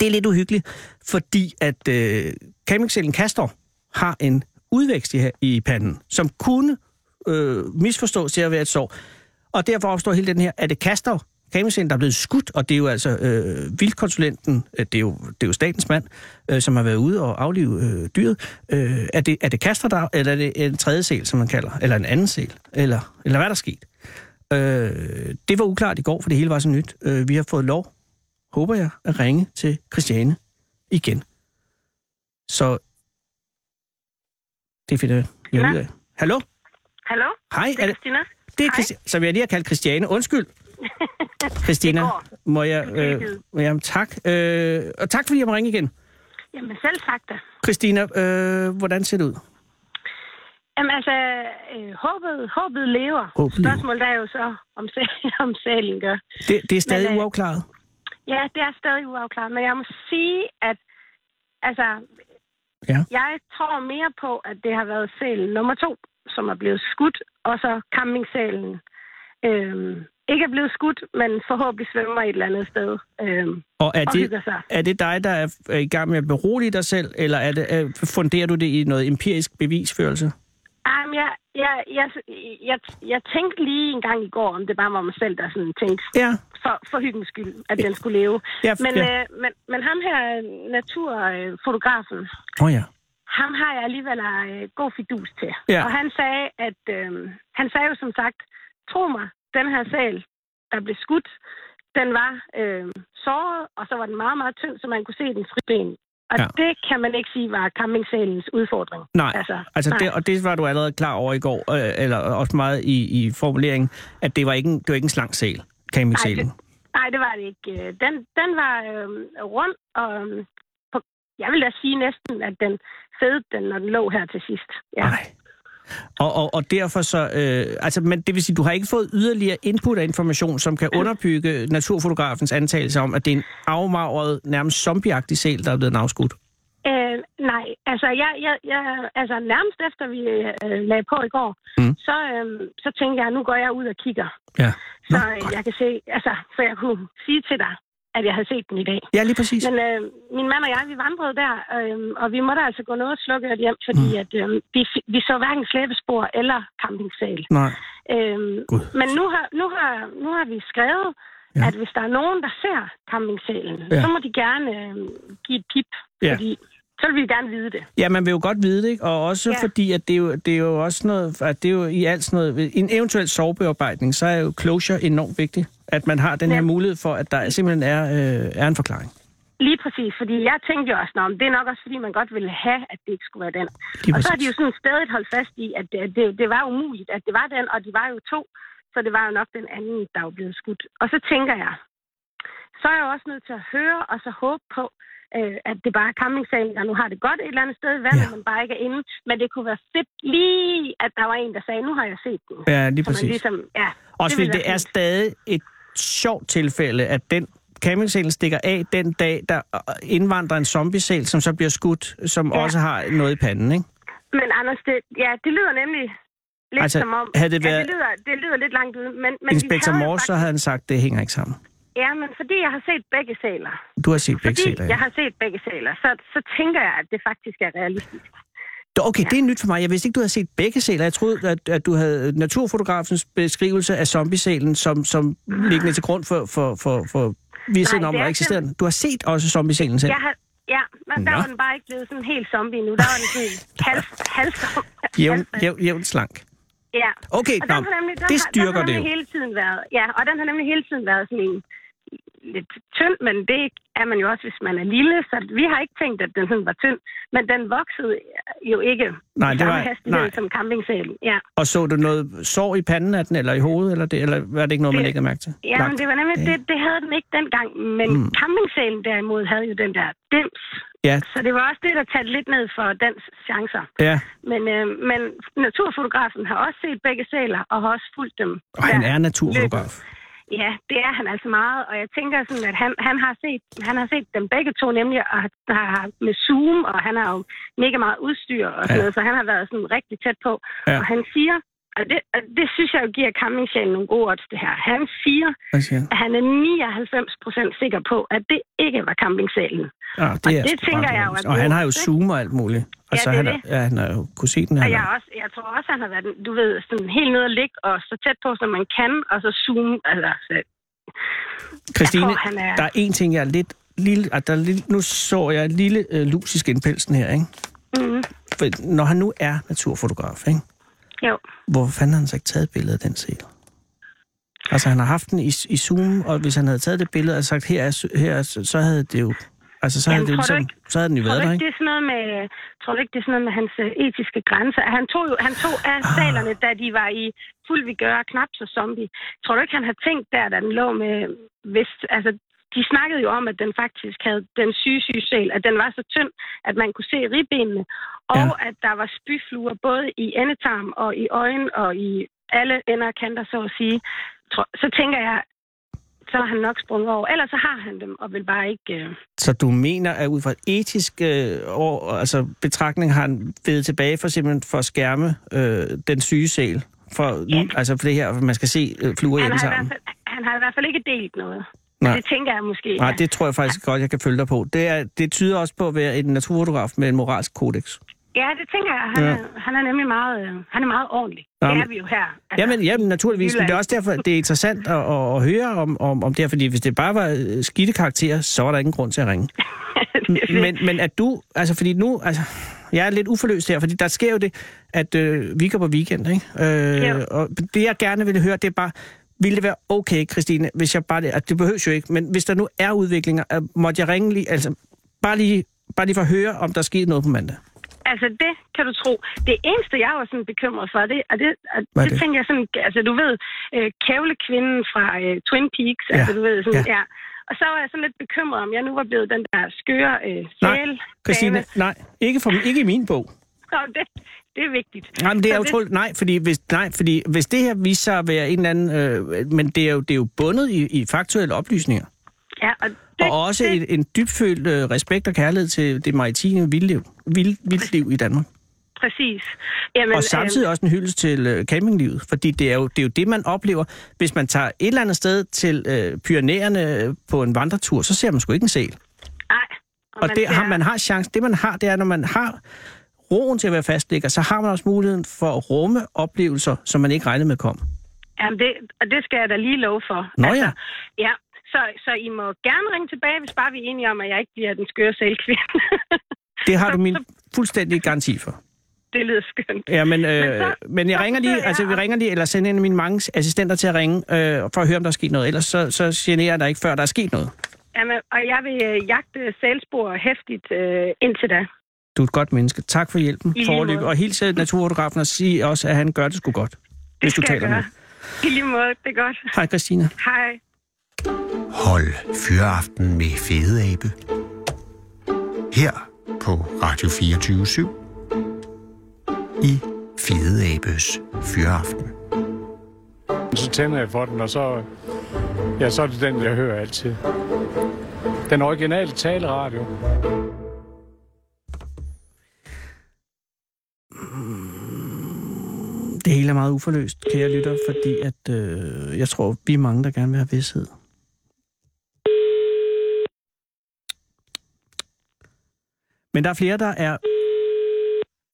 Speaker 5: Det er lidt uhyggeligt, fordi at øh, campingsælen Castor har en udvækst i, i panden, som kunne øh, misforstås til at være et sår. Og derfor opstår hele den her, er det Castor, campingsælen, der er blevet skudt, og det er jo altså øh, vildkonsulenten, øh, det, er jo, det er jo statens mand, øh, som har været ude og aflive øh, dyret. Øh, er, det, er det Castor, der, eller er det en tredje sæl, som man kalder, eller en anden sæl, eller, eller hvad er der sket? Øh, det var uklart i går, for det hele var så nyt. Øh, vi har fået lov håber jeg, at ringe til Christiane igen. Så det finder jeg ud af. Hallo?
Speaker 4: Hallo?
Speaker 5: Hej, er det,
Speaker 4: Christina?
Speaker 5: det er
Speaker 4: Hej.
Speaker 5: Christi- som jeg lige har kaldt Christiane. Undskyld. Christina,
Speaker 4: går.
Speaker 5: må jeg... Øh,
Speaker 4: Tilgivet.
Speaker 5: jamen, tak. Øh, og tak, fordi jeg må ringe igen.
Speaker 4: Jamen selv tak da.
Speaker 5: Christina, øh, hvordan ser det ud?
Speaker 4: Jamen altså, øh, håbet, håbet lever.
Speaker 5: Håbet lever.
Speaker 4: Spørgsmålet er jo så, om, sæ- om salen gør.
Speaker 5: Det, det er stadig
Speaker 4: Men, øh,
Speaker 5: uafklaret.
Speaker 4: Ja, det er stadig uafklaret, men jeg må sige, at altså,
Speaker 5: Ja.
Speaker 4: jeg tror mere på, at det har været sælen nummer to, som er blevet skudt, og så campingsalen. Øhm, ikke er blevet skudt, men forhåbentlig svømmer et eller andet sted. Øhm,
Speaker 5: Og er
Speaker 4: og
Speaker 5: det,
Speaker 4: hygger sig.
Speaker 5: er det dig, der er, er i gang med at berolige dig selv, eller er det, er, funderer du det i noget empirisk bevisførelse?
Speaker 4: Jamen, Ah, jeg, jeg, jeg, jeg, jeg tænkte lige en gang i går, om det bare var mig selv, der sådan tænkte,
Speaker 5: Ja.
Speaker 4: for, for hyggens skyld, at den skulle leve.
Speaker 5: Ja,
Speaker 4: men,
Speaker 5: ja.
Speaker 4: Øh, men, men ham her, øh, naturfotografen,
Speaker 5: Åh oh, ja.
Speaker 4: ham har jeg alligevel øh, god fidus til.
Speaker 5: Ja.
Speaker 4: Og han sagde, at øh, han sagde jo som sagt, tro mig, den her sal, der blev skudt, den var øh, såret, og så var den meget, meget tynd, så man kunne se den friben. Og
Speaker 5: Ja.
Speaker 4: ja. det kan man ikke sige var campingsalens udfordring.
Speaker 5: Nej, altså,
Speaker 4: Altså,
Speaker 5: altså
Speaker 4: nej.
Speaker 5: Det, og det var du allerede klar over i går, øh, eller også meget i, i formuleringen, at det var ikke en, det var ikke en slang sæl,
Speaker 4: Nej,
Speaker 5: campingsælen.
Speaker 4: det- Nej, det var det ikke. Øh, Den, den var øh, rund, og øh, på, jeg vil da sige næsten, at den fedede den, når den lå her til sidst. Ja.
Speaker 5: Nej. Og, og, og derfor så, øh, altså, men det vil sige, du har ikke fået yderligere input af information, som kan
Speaker 4: Mm.
Speaker 5: underbygge naturfotografens antagelse om, at det er en afmagret, nærmest zombieagtig sæl, der er blevet afskudt.
Speaker 4: Øh, nej, altså, jeg, jeg, jeg, altså nærmest efter vi øh, lagde på i går,
Speaker 5: Mm.
Speaker 4: mm. så, øh, så tænkte jeg, nu går jeg ud og kigger.
Speaker 5: Ja. Nå,
Speaker 4: Så øh, jeg kan se, altså, for jeg kunne sige til dig, at jeg havde set den i dag.
Speaker 5: Ja, lige præcis.
Speaker 4: Men øh, min mand og jeg, vi vandrede der, øh, og vi måtte altså gå noget slukket hjem, fordi mm. at, øh, vi, vi så hverken slæbespor eller campingsal.
Speaker 5: Nej.
Speaker 4: Øhm,
Speaker 5: Gud.
Speaker 4: men nu har, nu, har, nu har vi skrevet,
Speaker 5: Ja.
Speaker 4: ja. at hvis der er nogen, der ser campingsalen,
Speaker 5: Ja.
Speaker 4: ja. så må de gerne øh, give et pip,
Speaker 5: Ja.
Speaker 4: ja. fordi så vil vi gerne vide det.
Speaker 5: Ja, man vil jo godt vide det, ikke? og også ja.
Speaker 4: Ja.
Speaker 5: fordi, at det, er jo, det er jo også noget, at det er jo i alt sådan noget, en eventuel sovebearbejdning, så er jo closure enormt vigtigt, at man har den her
Speaker 4: Ja.
Speaker 5: mulighed for, at der simpelthen er, øh, er en forklaring.
Speaker 4: Lige præcis, fordi jeg tænkte jo også, om det er nok også, fordi man godt ville have, at det ikke skulle være den.
Speaker 5: Lige
Speaker 4: og så har de
Speaker 5: præcis.
Speaker 4: jo sådan stadig holdt fast i, at det, det, det var umuligt, at det var den, og de var jo to, så det var jo nok den anden, der var blevet skudt. Og så tænker jeg, så er jeg jo også nødt til at høre og så håbe på, øh, at det bare er campingsagen, der nu har det godt et eller andet sted i vandet,
Speaker 5: Ja.
Speaker 4: ja. men bare ikke er inde. Men det kunne være fedt lige, at der var en, der sagde, nu har jeg set den.
Speaker 5: Ja, lige
Speaker 4: Så man
Speaker 5: præcis.
Speaker 4: ligesom, ja,
Speaker 5: Også fordi
Speaker 4: ville
Speaker 5: det
Speaker 4: være
Speaker 5: er
Speaker 4: fint.
Speaker 5: stadig et sjovt tilfælde, at den campingsæl stikker af den dag, der øh, indvandrer en zombiesæl, som så bliver skudt, som ja.
Speaker 4: Ja.
Speaker 5: også har noget i panden, ikke?
Speaker 4: Men Anders, det, ja, det lyder nemlig lidt
Speaker 5: Altså,
Speaker 4: som om...
Speaker 5: havde det været-
Speaker 4: ja, det, lyder, det lyder lidt langt ude, men... men vi
Speaker 5: Inspektor
Speaker 4: havde jo
Speaker 5: Morse, så havde han sagt, det hænger ikke sammen.
Speaker 4: Ja, men fordi jeg har set begge saler,
Speaker 5: Du har set begge
Speaker 4: fordi
Speaker 5: sæler, ja.
Speaker 4: jeg har set begge saler, så, så tænker jeg, at det faktisk er realistisk.
Speaker 5: Okay, det er nyt for mig. Jeg vidste ikke, du havde set begge sæler. Jeg troede, at, at du havde naturfotografens beskrivelse af zombiesælen, som, som liggende til grund for, for, for, for vidsiden
Speaker 4: Nej,
Speaker 5: om,
Speaker 4: det
Speaker 5: der
Speaker 4: er
Speaker 5: eksisterer. den. Du har set også zombiesælen selv.
Speaker 4: Jeg har, ja, men der
Speaker 5: Nå.
Speaker 4: var den bare ikke blevet sådan helt zombie nu. Der var den sådan halv, halv,
Speaker 5: Jævn, jævn, jævn slank.
Speaker 4: Ja.
Speaker 5: Okay,
Speaker 4: og
Speaker 5: nå,
Speaker 4: den har nemlig, den
Speaker 5: det
Speaker 4: har- den
Speaker 5: styrker
Speaker 4: har
Speaker 5: det
Speaker 4: nemlig
Speaker 5: jo.
Speaker 4: hele tiden været, ja, og den har nemlig hele tiden været sådan en lidt tynd, men det er man jo også, hvis man er lille, så vi har ikke tænkt, at den sådan var tynd, men den voksede jo ikke
Speaker 5: Nej,
Speaker 4: i
Speaker 5: det
Speaker 4: samme
Speaker 5: var-
Speaker 4: hastighed
Speaker 5: nej.
Speaker 4: som campingsalen. Ja,
Speaker 5: Og så du noget sår i panden af den, eller i hovedet, eller, det, eller var det ikke noget, man
Speaker 4: Det-
Speaker 5: ikke havde mærke til?
Speaker 4: ja men det var nemlig, det, det havde den ikke dengang, men mm. campingsalen derimod havde jo den der dims,
Speaker 5: Ja,
Speaker 4: så det var også det, der talte lidt ned for dans chancer.
Speaker 5: ja.
Speaker 4: Men, øh, men naturfotografen har også set begge sæler, og har også fulgt dem.
Speaker 5: Og han
Speaker 4: der.
Speaker 5: er naturfotograf.
Speaker 4: Ja, det er han altså meget, og jeg tænker sådan, at han, han, har, set, han har set dem begge to nemlig, og har har med Zoom, og han har jo mega meget udstyr og sådan
Speaker 5: Ja.
Speaker 4: ja. noget, så han har været sådan rigtig tæt på.
Speaker 5: Ja.
Speaker 4: Ja. Og han siger, og det, og det synes jeg jo giver Kammingsjælen nogle gode odds, det her. Han siger,
Speaker 5: Hvad siger han?
Speaker 4: at han er 99 procent sikker på, at det ikke var Kammingsjælen.
Speaker 5: Ah, det, er
Speaker 4: det
Speaker 5: sgu
Speaker 4: tænker
Speaker 5: ret
Speaker 4: jeg jo,
Speaker 5: logisk.
Speaker 4: at
Speaker 5: Og
Speaker 4: du-
Speaker 5: han har jo Zoom og alt muligt. Og
Speaker 4: Ja,
Speaker 5: så
Speaker 4: det er
Speaker 5: han, er-
Speaker 4: det.
Speaker 5: ja, han har jo kunne se den.
Speaker 4: Og
Speaker 5: Han
Speaker 4: jeg,
Speaker 5: har-
Speaker 4: er også, jeg tror også, han har været, du ved, sådan helt nede og ligge, og så tæt på, som man kan, og så zoome. Altså, så-
Speaker 5: Christine,
Speaker 4: Jeg tror, han er-
Speaker 5: der er en ting, jeg er lidt... Lille, ah, der er lille, nu så jeg en lille øh, lus i skinpelsen her, ikke?
Speaker 4: mm,
Speaker 5: For når han nu er naturfotograf, ikke?
Speaker 4: jo.
Speaker 5: hvorfor fanden har han så ikke taget billedet af den sæl? Altså, han har haft den i, i Zoom, og hvis han havde taget det billede og sagt, her er, sø- her er sø- så havde det jo... Altså, så havde,
Speaker 4: Jamen,
Speaker 5: det jo
Speaker 4: tror du
Speaker 5: ligesom,
Speaker 4: ikke-
Speaker 5: så havde den jo
Speaker 4: Tror
Speaker 5: været
Speaker 4: du
Speaker 5: der,
Speaker 4: ikke,
Speaker 5: ikke?
Speaker 4: det er sådan noget med, tror du ikke, det er sådan noget med hans øh, etiske grænser? Han tog jo han tog af
Speaker 5: Ah.
Speaker 4: salerne, da de var i fuld vi gør, knap så zombie. Tror du ikke, han har tænkt der, da den lå med... Hvis, altså, de snakkede jo om, at den faktisk havde den syge, syge sæl, at den var så tynd, at man kunne se ribbenene, og ja. at der var spyfluer både i endetarm og i øjen og i alle ender og kanter, så at sige. Tror- Så tænker jeg, så har han nok sprunget over. Ellers så har han dem, og vil bare ikke... Øh,
Speaker 5: Så du mener, at ud fra et etisk øh, år, altså betragtning har han vedet tilbage for simpelthen for at skærme øh, den syge sæl? For, ja. altså for det her, at man skal se øh, fluer i
Speaker 4: han,
Speaker 5: den
Speaker 4: har i hvert
Speaker 5: sammen.
Speaker 4: fald, han har i hvert fald ikke delt noget.
Speaker 5: Nej.
Speaker 4: Nej. Det tænker jeg måske.
Speaker 5: Nej, det tror jeg faktisk godt, jeg kan følge dig på. Det, er, det tyder også på at være en naturfotograf med en moralsk kodex.
Speaker 4: Ja, det tænker jeg. Han,
Speaker 5: Ja.
Speaker 4: ja. er, han er nemlig meget, øh, han er meget ordentlig.
Speaker 5: Nå, men-
Speaker 4: det er vi jo her. Altså,
Speaker 5: Jamen, jamen naturligvis, men det er
Speaker 4: Jylland.
Speaker 5: også derfor, det er interessant at, at, at høre om, om, om det her, fordi hvis det bare var øh, skidte karakterer, så var der ingen grund til at ringe.
Speaker 4: det er fedt.
Speaker 5: Men, men at du, altså fordi nu, altså, jeg er lidt uforløst her, fordi der sker jo det, at øh, vi går på weekend, ikke? Øh,
Speaker 4: Jo.
Speaker 5: Og det jeg gerne ville høre, det er bare, ville det være okay, Christine, hvis jeg bare, at det behøves jo ikke, men hvis der nu er udviklinger, øh, måtte jeg ringe lige, altså bare lige, bare lige for at høre, om der skete noget på mandag.
Speaker 4: altså, det kan du tro. Det eneste, jeg var sådan bekymret for, det, og det, og
Speaker 5: Hvad er
Speaker 4: det,
Speaker 5: det?
Speaker 4: tænker jeg sådan, altså du ved, øh, kævlekvinden fra øh, Twin Peaks,
Speaker 5: Ja,
Speaker 4: ja. altså du ved, sådan,
Speaker 5: ja.
Speaker 4: ja. ja. Og så var jeg sådan lidt bekymret, om jeg nu var blevet den der skøre øh,
Speaker 5: Nej,
Speaker 4: sjæl.
Speaker 5: Christine, nej, ikke, for, ikke i min bog.
Speaker 4: Så det, det er vigtigt.
Speaker 5: Nej, men det er
Speaker 4: Så
Speaker 5: jo troligt. Nej, fordi hvis, nej, fordi hvis det her viser sig at være en eller anden... Øh, men det er, jo, det er jo bundet i, i faktuelle oplysninger.
Speaker 4: Ja, og det,
Speaker 5: og også
Speaker 4: det,
Speaker 5: en, en dybfølt øh, respekt og kærlighed til det maritime vildliv, vild, vildliv i Danmark.
Speaker 4: Præcis. Jamen,
Speaker 5: og samtidig også en hyldest til øh, campinglivet, fordi det er, jo, det er jo det, man oplever. Hvis man tager et eller andet sted til øh, Pyrenæerne på en vandretur, så ser man sgu ikke en sæl.
Speaker 4: Øh, ej,
Speaker 5: Og det,
Speaker 4: ser-
Speaker 5: har, man har chancen. Det, man har, det er, når man har roen til at være fastligger, så har man også muligheden for at rumme oplevelser, som man ikke regnede med kom.
Speaker 4: Jamen det, og det skal jeg da lige love for. Altså,
Speaker 5: Nå ja.
Speaker 4: ja. Så, så I må gerne ringe tilbage, hvis bare vi er enige om, at jeg ikke bliver den skøre sælkvinde.
Speaker 5: Det har
Speaker 4: Så-
Speaker 5: du min
Speaker 4: så-
Speaker 5: fuldstændige garanti for.
Speaker 4: det lyder skønt.
Speaker 5: Ja, men, øh,
Speaker 4: så-
Speaker 5: men jeg
Speaker 4: så forsøger
Speaker 5: ringer lige,
Speaker 4: jeg
Speaker 5: altså vi
Speaker 4: at-
Speaker 5: ringer lige, eller sender en af mine mange assistenter til at ringe, øh, for at høre, om der er sket noget. Ellers så, så generer jeg dig ikke, før der er sket noget.
Speaker 8: Jamen, og jeg vil øh, jagte sælspor hæftigt øh, indtil da.
Speaker 5: Du er et godt menneske. Tak for hjælpen.
Speaker 8: lige
Speaker 5: Forløb.
Speaker 8: måde.
Speaker 5: Og hils øh, naturfotografen og sig også, at han gør det sgu godt. Hvis du
Speaker 8: skal jeg
Speaker 5: taler
Speaker 8: gøre.
Speaker 5: med. ham.
Speaker 8: I lige måde, det er godt.
Speaker 5: Hej Christina.
Speaker 8: Hej.
Speaker 3: Hold Fyraften med Fede Abe. Her på Radio 24 I Fede Abes Fyraften.
Speaker 9: Så tænder jeg for den, og så, ja, så er det den, jeg hører altid. Den originale taleradio.
Speaker 5: Det hele er meget uforløst, kære lytter, fordi at, øh, jeg tror, vi er mange, der gerne vil have vidshed. Men der er flere, der er...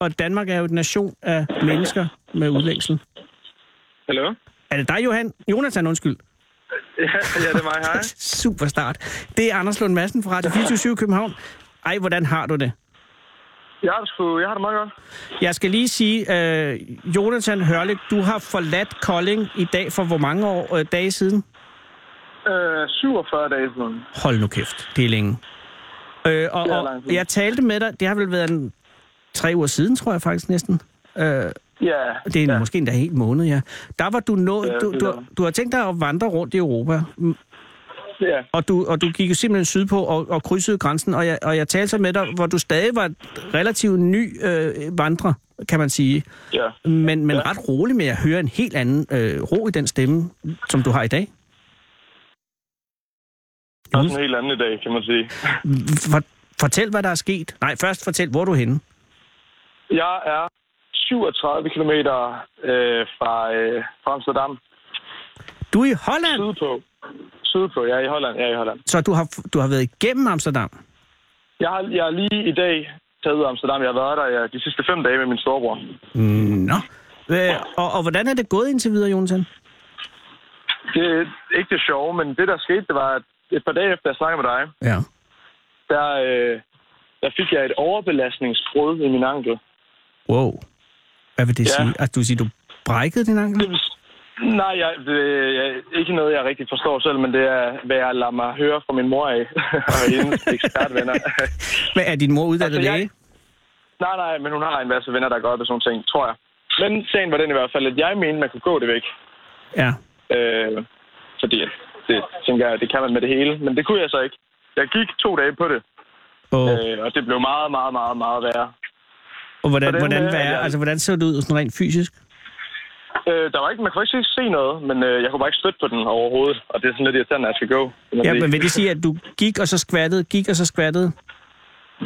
Speaker 5: Og Danmark er jo en nation af mennesker med udlængsel.
Speaker 10: Hallo?
Speaker 5: Er det dig, Johan? Jonathan, undskyld.
Speaker 10: Ja, ja, det er mig, hej.
Speaker 5: Super start. Det er Anders Lund Madsen fra Radio 24 København. Ej, hvordan har du det?
Speaker 10: Jeg har, det sgu, jeg har det meget godt.
Speaker 5: Jeg skal lige sige, øh, Jonathan Hørlik, du har forladt Kolding i dag for hvor mange år, øh, dage siden?
Speaker 10: Øh, 47 dage siden.
Speaker 5: Hold nu kæft, det er længe. Øh, og,
Speaker 10: Det er
Speaker 5: og
Speaker 10: lang tid.
Speaker 5: jeg talte med dig, det har vel været en, tre uger siden, tror jeg faktisk næsten. Øh,
Speaker 10: Ja,
Speaker 5: det er en, ja.
Speaker 10: ja.
Speaker 5: måske endda en hel måned, ja. Der var du nået,
Speaker 10: Ja,
Speaker 5: du,
Speaker 10: det
Speaker 5: du,
Speaker 10: var.
Speaker 5: du har tænkt dig at vandre rundt i Europa, m-
Speaker 10: ja.
Speaker 5: og du, og du gik jo simpelthen sydpå og, og krydsede grænsen, og jeg, og jeg talte så med dig, hvor du stadig var relativt ny øh, vandrer, kan man sige.
Speaker 10: ja.
Speaker 5: Men, men
Speaker 10: Ja.
Speaker 5: ret rolig med at høre en helt anden øh, ro i den stemme, som du har i dag.
Speaker 10: Det er også en helt anden i dag, kan man sige.
Speaker 5: For, fortæl, hvad der er sket. Nej, først fortæl, hvor er du er henne.
Speaker 10: Jeg er 37 km øh, fra, øh, fra Amsterdam.
Speaker 5: Du er i Holland!
Speaker 10: Sydpå. Sydpå, jeg er i Holland. Jeg er i Holland.
Speaker 5: Så du har, du har været igennem Amsterdam?
Speaker 10: Jeg har, jeg har lige i dag taget ud af Amsterdam. Jeg har været der ja, de sidste fem dage med min storebror.
Speaker 5: Nå. Øh, og, og hvordan er det gået indtil videre, Jonathan?
Speaker 10: Det er ikke det sjove, men det, der skete, det var, at et par dage efter, jeg snakkede med dig,
Speaker 5: Ja.
Speaker 10: der, øh, der fik jeg et overbelastningsbrud i min ankel.
Speaker 5: Wow. Hvad vil det
Speaker 10: Ja.
Speaker 5: sige? At du siger, du brækkede din
Speaker 10: Det
Speaker 5: ankel?
Speaker 10: vil s- Nej, jeg, det, jeg, ikke noget, jeg rigtig forstår selv, men det er, hvad jeg lader mig høre fra min mor af og hendes ekspertvenner.
Speaker 5: Men er din mor uddannet
Speaker 10: Altså, jeg-
Speaker 5: læge?
Speaker 10: nej, nej, men hun har en masse venner, der gør det sådan nogle ting, tror jeg. Men sagen var den i hvert fald, at jeg mente, man kunne gå det væk.
Speaker 5: Ja.
Speaker 10: Øh, fordi at det, tænker jeg, det kan man med det hele, men det kunne jeg så ikke. Jeg gik to dage på det,
Speaker 5: Og,
Speaker 10: øh, og det blev meget, meget, meget, meget værre.
Speaker 5: og hvordan,
Speaker 10: hvordan,
Speaker 5: hvordan,
Speaker 10: øh,
Speaker 5: hvad er,
Speaker 10: jeg-
Speaker 5: altså, hvordan ser det ud sådan rent fysisk?
Speaker 10: Øh, der var ikke, man kunne ikke se noget, men øh, jeg kunne bare ikke støtte på den overhovedet, og det er sådan lidt irriterende, at jeg skal gå. kan man
Speaker 5: Ja,
Speaker 10: sige.
Speaker 5: men vil det sige, at du gik og så skvattede, gik og så skvattede?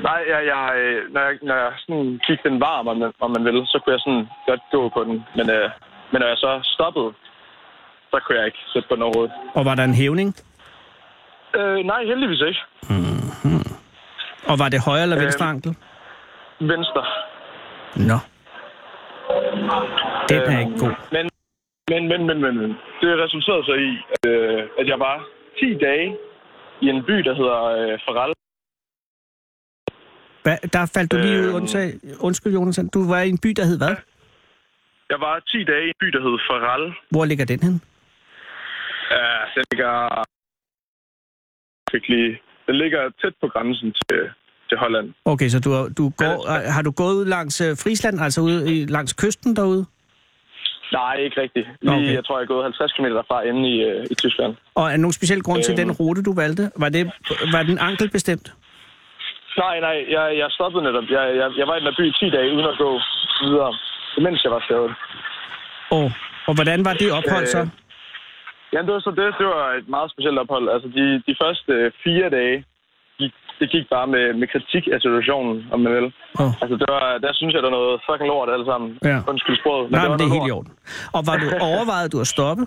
Speaker 10: Nej, jeg, jeg, øh, når jeg, når jeg sådan gik den varm, om man, om man vil, så kunne jeg sådan godt gå på den. Men, øh, men når jeg så stoppede, så kunne jeg ikke sætte på den overhovedet.
Speaker 5: Og var der en hævning?
Speaker 10: Øh, nej, heldigvis ikke.
Speaker 5: Og var det højre eller
Speaker 10: Øh,
Speaker 5: venstre ankel?
Speaker 10: Venstre. Mm.
Speaker 5: Nå. Den er ikke god.
Speaker 10: Øh, Men, men, men, men, men, men. Det resulterede så i, øh, at jeg var 10 dage i en by, der hedder øh, Farrell.
Speaker 5: Hva, der faldt du lige ud.
Speaker 10: Øhm.
Speaker 5: Undsag, undskyld, Jonathan. Du var i en by, der hed hvad?
Speaker 10: Jeg var 10 dage i en by, der hed Farrell.
Speaker 5: Hvor ligger den hen?
Speaker 10: Ja, den ligger... virkelig- Den ligger tæt på grænsen til, til Holland.
Speaker 5: Okay, så du, har- du går, har du gået ud langs øh, Frisland, altså ude i, langs kysten derude?
Speaker 10: Nej, ikke rigtigt.
Speaker 5: Nå,
Speaker 10: Lige,
Speaker 5: okay.
Speaker 10: okay. Jeg tror, jeg er gået 50 km derfra inde i, øh, i Tyskland.
Speaker 5: Og er der nogen speciel grund til
Speaker 10: Øhm.
Speaker 5: den rute, du valgte? Var, det, var den ankelbestemt?
Speaker 10: Nej, nej, jeg, jeg stoppede netop. Jeg, jeg, jeg var i den her by i 10 dage uden at gå videre, mens jeg var skadet.
Speaker 5: Og, og hvordan var det ophold så?
Speaker 10: Øh. Ja, det var så det. Det var et meget specielt ophold. Altså, de, de første øh, fire dage, gik, det gik bare med, med kritik af situationen, om man vil.
Speaker 5: Åh.
Speaker 10: Altså, det var, der synes jeg, der er noget fucking lort alle sammen.
Speaker 5: Ja.
Speaker 10: Undskyld sproget.
Speaker 5: Nej,
Speaker 10: var
Speaker 5: men det er
Speaker 10: noget
Speaker 5: helt i
Speaker 10: lort.
Speaker 5: orden. Og var du overvejet du at stoppe?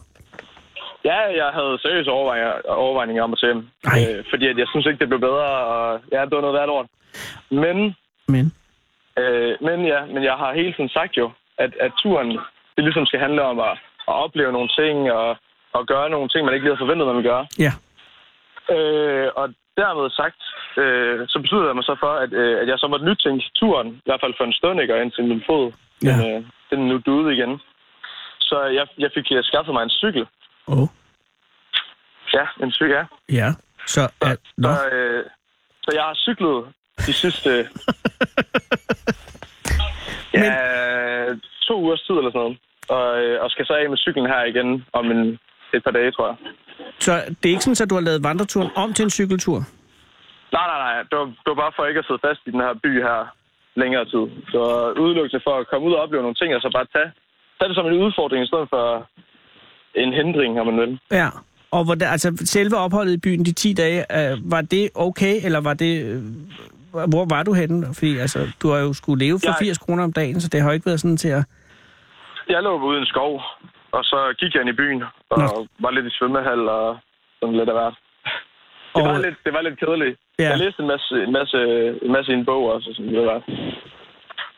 Speaker 10: Ja, jeg havde seriøse overvejninger, overvejninger om at tage hjem.
Speaker 5: Ej.
Speaker 10: Øh, fordi at jeg synes ikke, det blev bedre, og ja, det var noget værd lort. Men
Speaker 5: Men
Speaker 10: Øh, men ja, men jeg har hele tiden sagt jo, at, at turen, det ligesom skal handle om at, at opleve nogle ting, og, og gøre nogle ting, man ikke lige havde forventet, man ville gøre.
Speaker 5: ja,
Speaker 10: Øh, og dermed sagt, øh, så besluttede jeg mig så for, at, øh, at jeg så måtte nytænke turen, i hvert fald for en stund, ikke, og indtil min fod,
Speaker 5: Ja.
Speaker 10: den, øh, den er nu døde igen. Så jeg, jeg fik øh, skaffet mig en cykel.
Speaker 5: åh, oh.
Speaker 10: Ja, en cykel, ja.
Speaker 5: ja. Så, at, nå,
Speaker 10: Så, øh, så jeg har cyklet de sidste... ja, to ugers tid eller sådan noget. Og, øh, og skal så af med cyklen her igen om en, et par dage, tror jeg.
Speaker 5: så det er ikke sådan, at du har lavet vandreturen om til en cykeltur?
Speaker 10: Nej, nej, nej. Det var, det var bare for ikke at sidde fast i den her by her længere tid. Så udelukkelse for at komme ud og opleve nogle ting, og så bare tage, tage det som en udfordring i stedet for en hindring, om man vil.
Speaker 5: Ja. Og hvordan, altså, selve opholdet i byen de 10 dage, øh, var det okay, eller var det... Øh, hvor var du henne? Fordi altså, du har jo skulle leve for
Speaker 10: Jeg-
Speaker 5: 80 kroner om dagen, så det har jo ikke været sådan til at...
Speaker 10: Jeg lå ude i en skov, og så gik jeg ind i byen, og
Speaker 5: Nå.
Speaker 10: var lidt i svømmehal og sådan lidt af hvert. Det,
Speaker 5: Og-
Speaker 10: var lidt, det var lidt kedeligt.
Speaker 5: Ja.
Speaker 10: Ja. Jeg læste en masse, en masse, en masse i en bog også, og sådan lidt af hvert.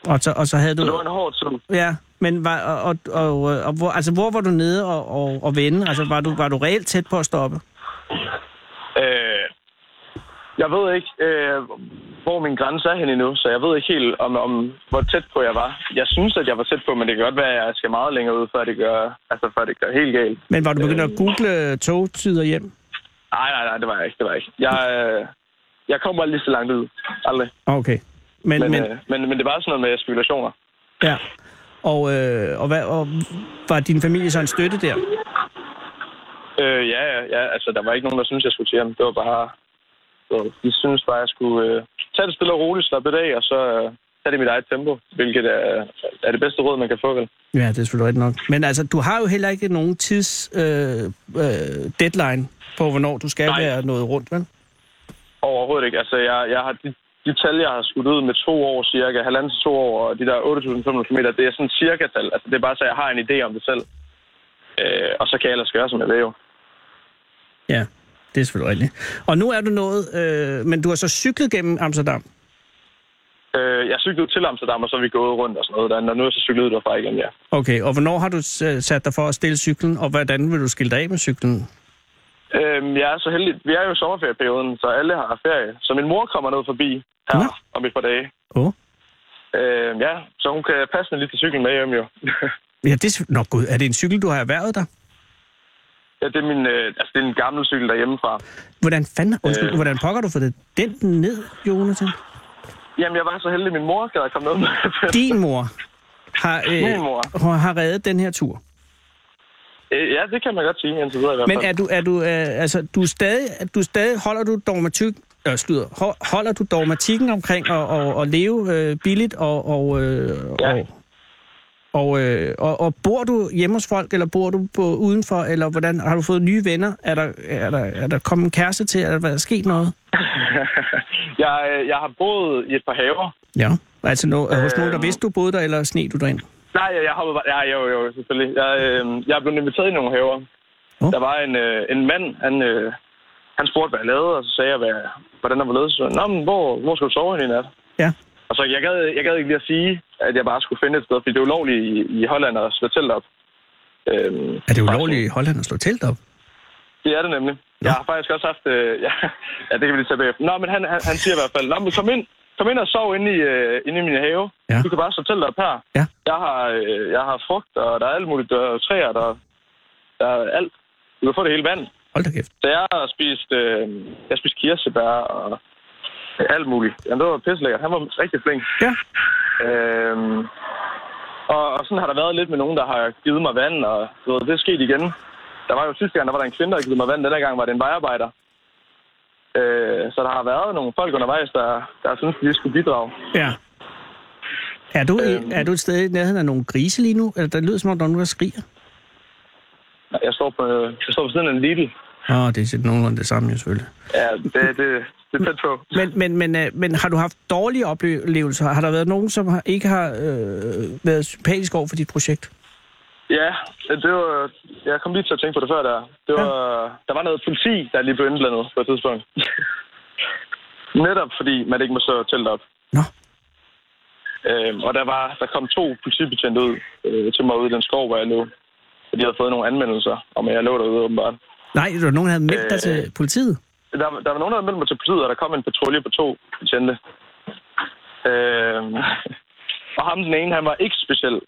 Speaker 5: Og så, og så havde
Speaker 10: Så det
Speaker 5: du...
Speaker 10: var en hård tid.
Speaker 5: Ja, men var, og, og, og, øh, og hvor, altså, hvor var du nede og, og, og vende? Altså, var du, var du reelt tæt på at stoppe?
Speaker 10: Øh, jeg ved ikke, øh, hvor min grænse er henne endnu, så jeg ved ikke helt, om, om hvor tæt på jeg var. Jeg synes, at jeg var tæt på, men det kan godt være, at jeg skal meget længere ud, før det gør, altså, før det gør helt galt.
Speaker 5: Men var du begyndt at google øh, togtider hjem?
Speaker 10: Nej, nej, nej, det var jeg ikke. Det var jeg, ikke. jeg, øh, jeg kom bare lige så langt ud. Aldrig.
Speaker 5: Ah, Okay. Men,
Speaker 10: Men,
Speaker 5: men,
Speaker 10: men, øh, men, men det var sådan noget med spekulationer.
Speaker 5: ja. Og, øh, og, hvad, og var din familie så en støtte der?
Speaker 10: Øh, ja, ja, ja, altså der var ikke nogen, der syntes, jeg skulle til hjem. Det var bare... Så de synes bare, jeg skulle øh, tage det stille og roligt, slappe det af, og så øh, tage det i mit eget tempo, hvilket er, er det bedste råd, man kan få, vel?
Speaker 5: Ja, det er selvfølgelig rigtigt nok. Men altså, du har jo heller ikke nogen tids øh, øh, deadline på, hvornår du skal
Speaker 10: Nej.
Speaker 5: være noget rundt, vel?
Speaker 10: Overhovedet ikke. Altså, jeg, jeg har de, de tal, jeg har skudt ud med to år cirka, halvanden til to år, og de der 8.500 km, det er sådan cirka tal. Altså, det er bare så, jeg har en idé om det selv. Øh, og så kan jeg ellers gøre, som jeg vil jo.
Speaker 5: Ja, det er selvfølgelig rigtigt. Og nu er du nået, øh, men du har så cyklet gennem Amsterdam.
Speaker 10: Øh, jeg cyklede til Amsterdam, og så er vi gået rundt og sådan noget. Der, og nu er jeg så cyklet ud derfra igen, ja.
Speaker 5: Okay, og hvornår har du s- øh, sat dig for at stille cyklen, og hvordan vil du skille dig af med cyklen?
Speaker 10: Øhm, jeg er så heldig. Vi er jo i sommerferieperioden, så alle har ferie. Så min mor kommer ned forbi her
Speaker 5: Nå.
Speaker 10: om et par dage.
Speaker 5: Åh, oh.
Speaker 10: Øhm, ja, så hun kan passe den lige til cyklen med hjem jo.
Speaker 5: ja, det er... s- Nå gud, er det en cykel, du har erhvervet dig?
Speaker 10: ja, det er min, øh, altså, det er en gammel cykel derhjemmefra.
Speaker 5: Hvordan fanden, undskyld,
Speaker 10: Øh.
Speaker 5: hvordan pokker du for det? Den ned, Jonathan?
Speaker 10: Jamen, jeg var så heldig, min mor gad at komme ned med den.
Speaker 5: Din mor har,
Speaker 10: Min mor.
Speaker 5: har- har reddet den her tur.
Speaker 10: Øh, ja, det kan man godt sige, indtil videre i hvert fald.
Speaker 5: Men er du, er du, øh, altså, du er stadig, er du stadig, holder du dogmatik, øh, slutter, Ho- holder du dogmatikken omkring at, at, at leve øh, billigt og, og, øh,
Speaker 10: Ja.
Speaker 5: og, og, øh, og, og, bor du hjemme hos folk, eller bor du på, udenfor, eller hvordan, har du fået nye venner? Er der, er der, er der kommet en kæreste til, eller hvad er der sket noget?
Speaker 10: jeg, øh, jeg har boet i et par haver.
Speaker 5: Ja. Altså no, øh, hos nogen, der
Speaker 10: Øhm.
Speaker 5: vidste, du boede der, eller sneg du derind?
Speaker 10: Nej, jeg, jeg har bare... Ja, jo, jo, selvfølgelig. Jeg, øh, jeg er blevet inviteret i nogle haver.
Speaker 5: Åh.
Speaker 10: Der var en, øh, en mand, han, øh, han spurgte, hvad jeg lavede, og så sagde jeg, hvad, hvordan der var ledet. Så sagde han, Nå, men hvor, hvor skal du sove henne i nat?
Speaker 5: Ja.
Speaker 10: Og så jeg gad, jeg gad ikke lige at sige, at jeg bare skulle finde et sted, fordi det er ulovligt i, i Holland at slå telt op. Øhm,
Speaker 5: Er det ulovligt i Holland at slå telt op?
Speaker 10: Det er det nemlig. Jeg har faktisk også haft... Øh, ja, ja, det kan vi lige tage bagefter. Nå, men han, han, han siger i hvert fald, Nå, men kom ind, kom ind og sov inde i, øh, inde i min have.
Speaker 5: Ja.
Speaker 10: Ja. Du kan bare stå telt op her.
Speaker 5: Ja.
Speaker 10: Jeg, har, øh, jeg har frugt, og der er alt muligt. Der er træer, der, der er alt. Du kan få det hele vand.
Speaker 5: Hold da kæft.
Speaker 10: Så jeg har spist, øh, jeg har spist kirsebær og alt muligt. Jamen, det var pisselækkert. Han var rigtig flink.
Speaker 5: Ja.
Speaker 10: Øhm, og, og sådan har der været lidt med nogen, der har givet mig vand, og du ved, det er sket igen. Der var jo sidste gang, der var der en kvinde, der havde givet mig vand. Den her gang var det en vejarbejder. Øh, så der har været nogle folk undervejs, der, der synes, de lige skulle bidrage.
Speaker 5: Ja. Er du, i-
Speaker 10: Øhm.
Speaker 5: er du et sted i nærheden af nogle grise lige nu? Eller der lyder som om, der er nogen, der skriger?
Speaker 10: Jeg står på, jeg står på siden af en Lidl.
Speaker 5: Åh, oh, det er sådan nogenlunde det samme jo selvfølgelig.
Speaker 10: Ja, det, det, det er tæt på.
Speaker 5: Men, men, men, øh, men har du haft dårlige oplevelser? Har der været nogen, som har, ikke har øh, været sympatisk over for dit projekt?
Speaker 10: Ja, det var, jeg kom lige til at tænke på det før der. Det var, Der var noget politi, der lige blev indblandet på et tidspunkt. Netop fordi man ikke må så telt op.
Speaker 5: Nå,
Speaker 10: Øhm, og der, var, der kom to politibetjente ud øh, til mig ude i den skov, hvor jeg lå. Og de havde fået nogle anmeldelser om, at jeg lå derude åbenbart.
Speaker 5: nej, der var nogen, der havde meldt dig
Speaker 10: Øh.
Speaker 5: til politiet.
Speaker 10: Der, der var nogen, der havde meldt mig til politiet, og der kom en patrulje på to betjente. Øhm, og ham den ene, han var ikke specielt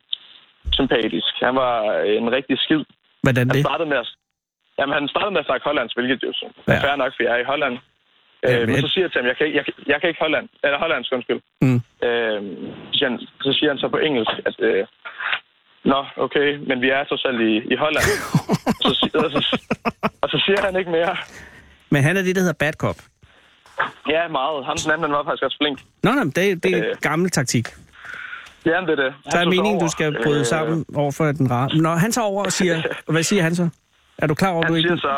Speaker 10: sympatisk. Han var en rigtig skid.
Speaker 5: Hvordan
Speaker 10: Han
Speaker 5: det?
Speaker 10: altså- startede med at... Jamen, han startede med at snakke hollandsk, hvilket jo så
Speaker 5: Ja.
Speaker 10: ja. fair nok, for jeg er i Holland. Øh,
Speaker 5: Jamen,
Speaker 10: men
Speaker 5: et-
Speaker 10: så siger jeg til ham, jeg kan, ikke- jeg, kan- jeg kan ikke Holland, eller hollandsk, undskyld.
Speaker 5: Mm.
Speaker 10: Øh, så, siger han, så siger han så på engelsk, at øh, Nå, okay, men vi er trods alt i, i Holland. Og så, si- og, så, og så siger han ikke mere.
Speaker 5: Men han er det, der hedder bad cop.
Speaker 10: Ja, meget. Ham den anden, han var faktisk også flink.
Speaker 5: Nå, nej, det, er- det er
Speaker 10: Øh.
Speaker 5: gammel taktik.
Speaker 10: Ja, det er det. Han
Speaker 5: Der er
Speaker 10: tog sig
Speaker 5: meningen,
Speaker 10: over.
Speaker 5: du skal bryde
Speaker 10: Øh,
Speaker 5: sammen over for den rare. Når han tager over og siger... Hvad siger han så? Er du klar over, at
Speaker 10: Han
Speaker 5: du ikke...
Speaker 10: siger så...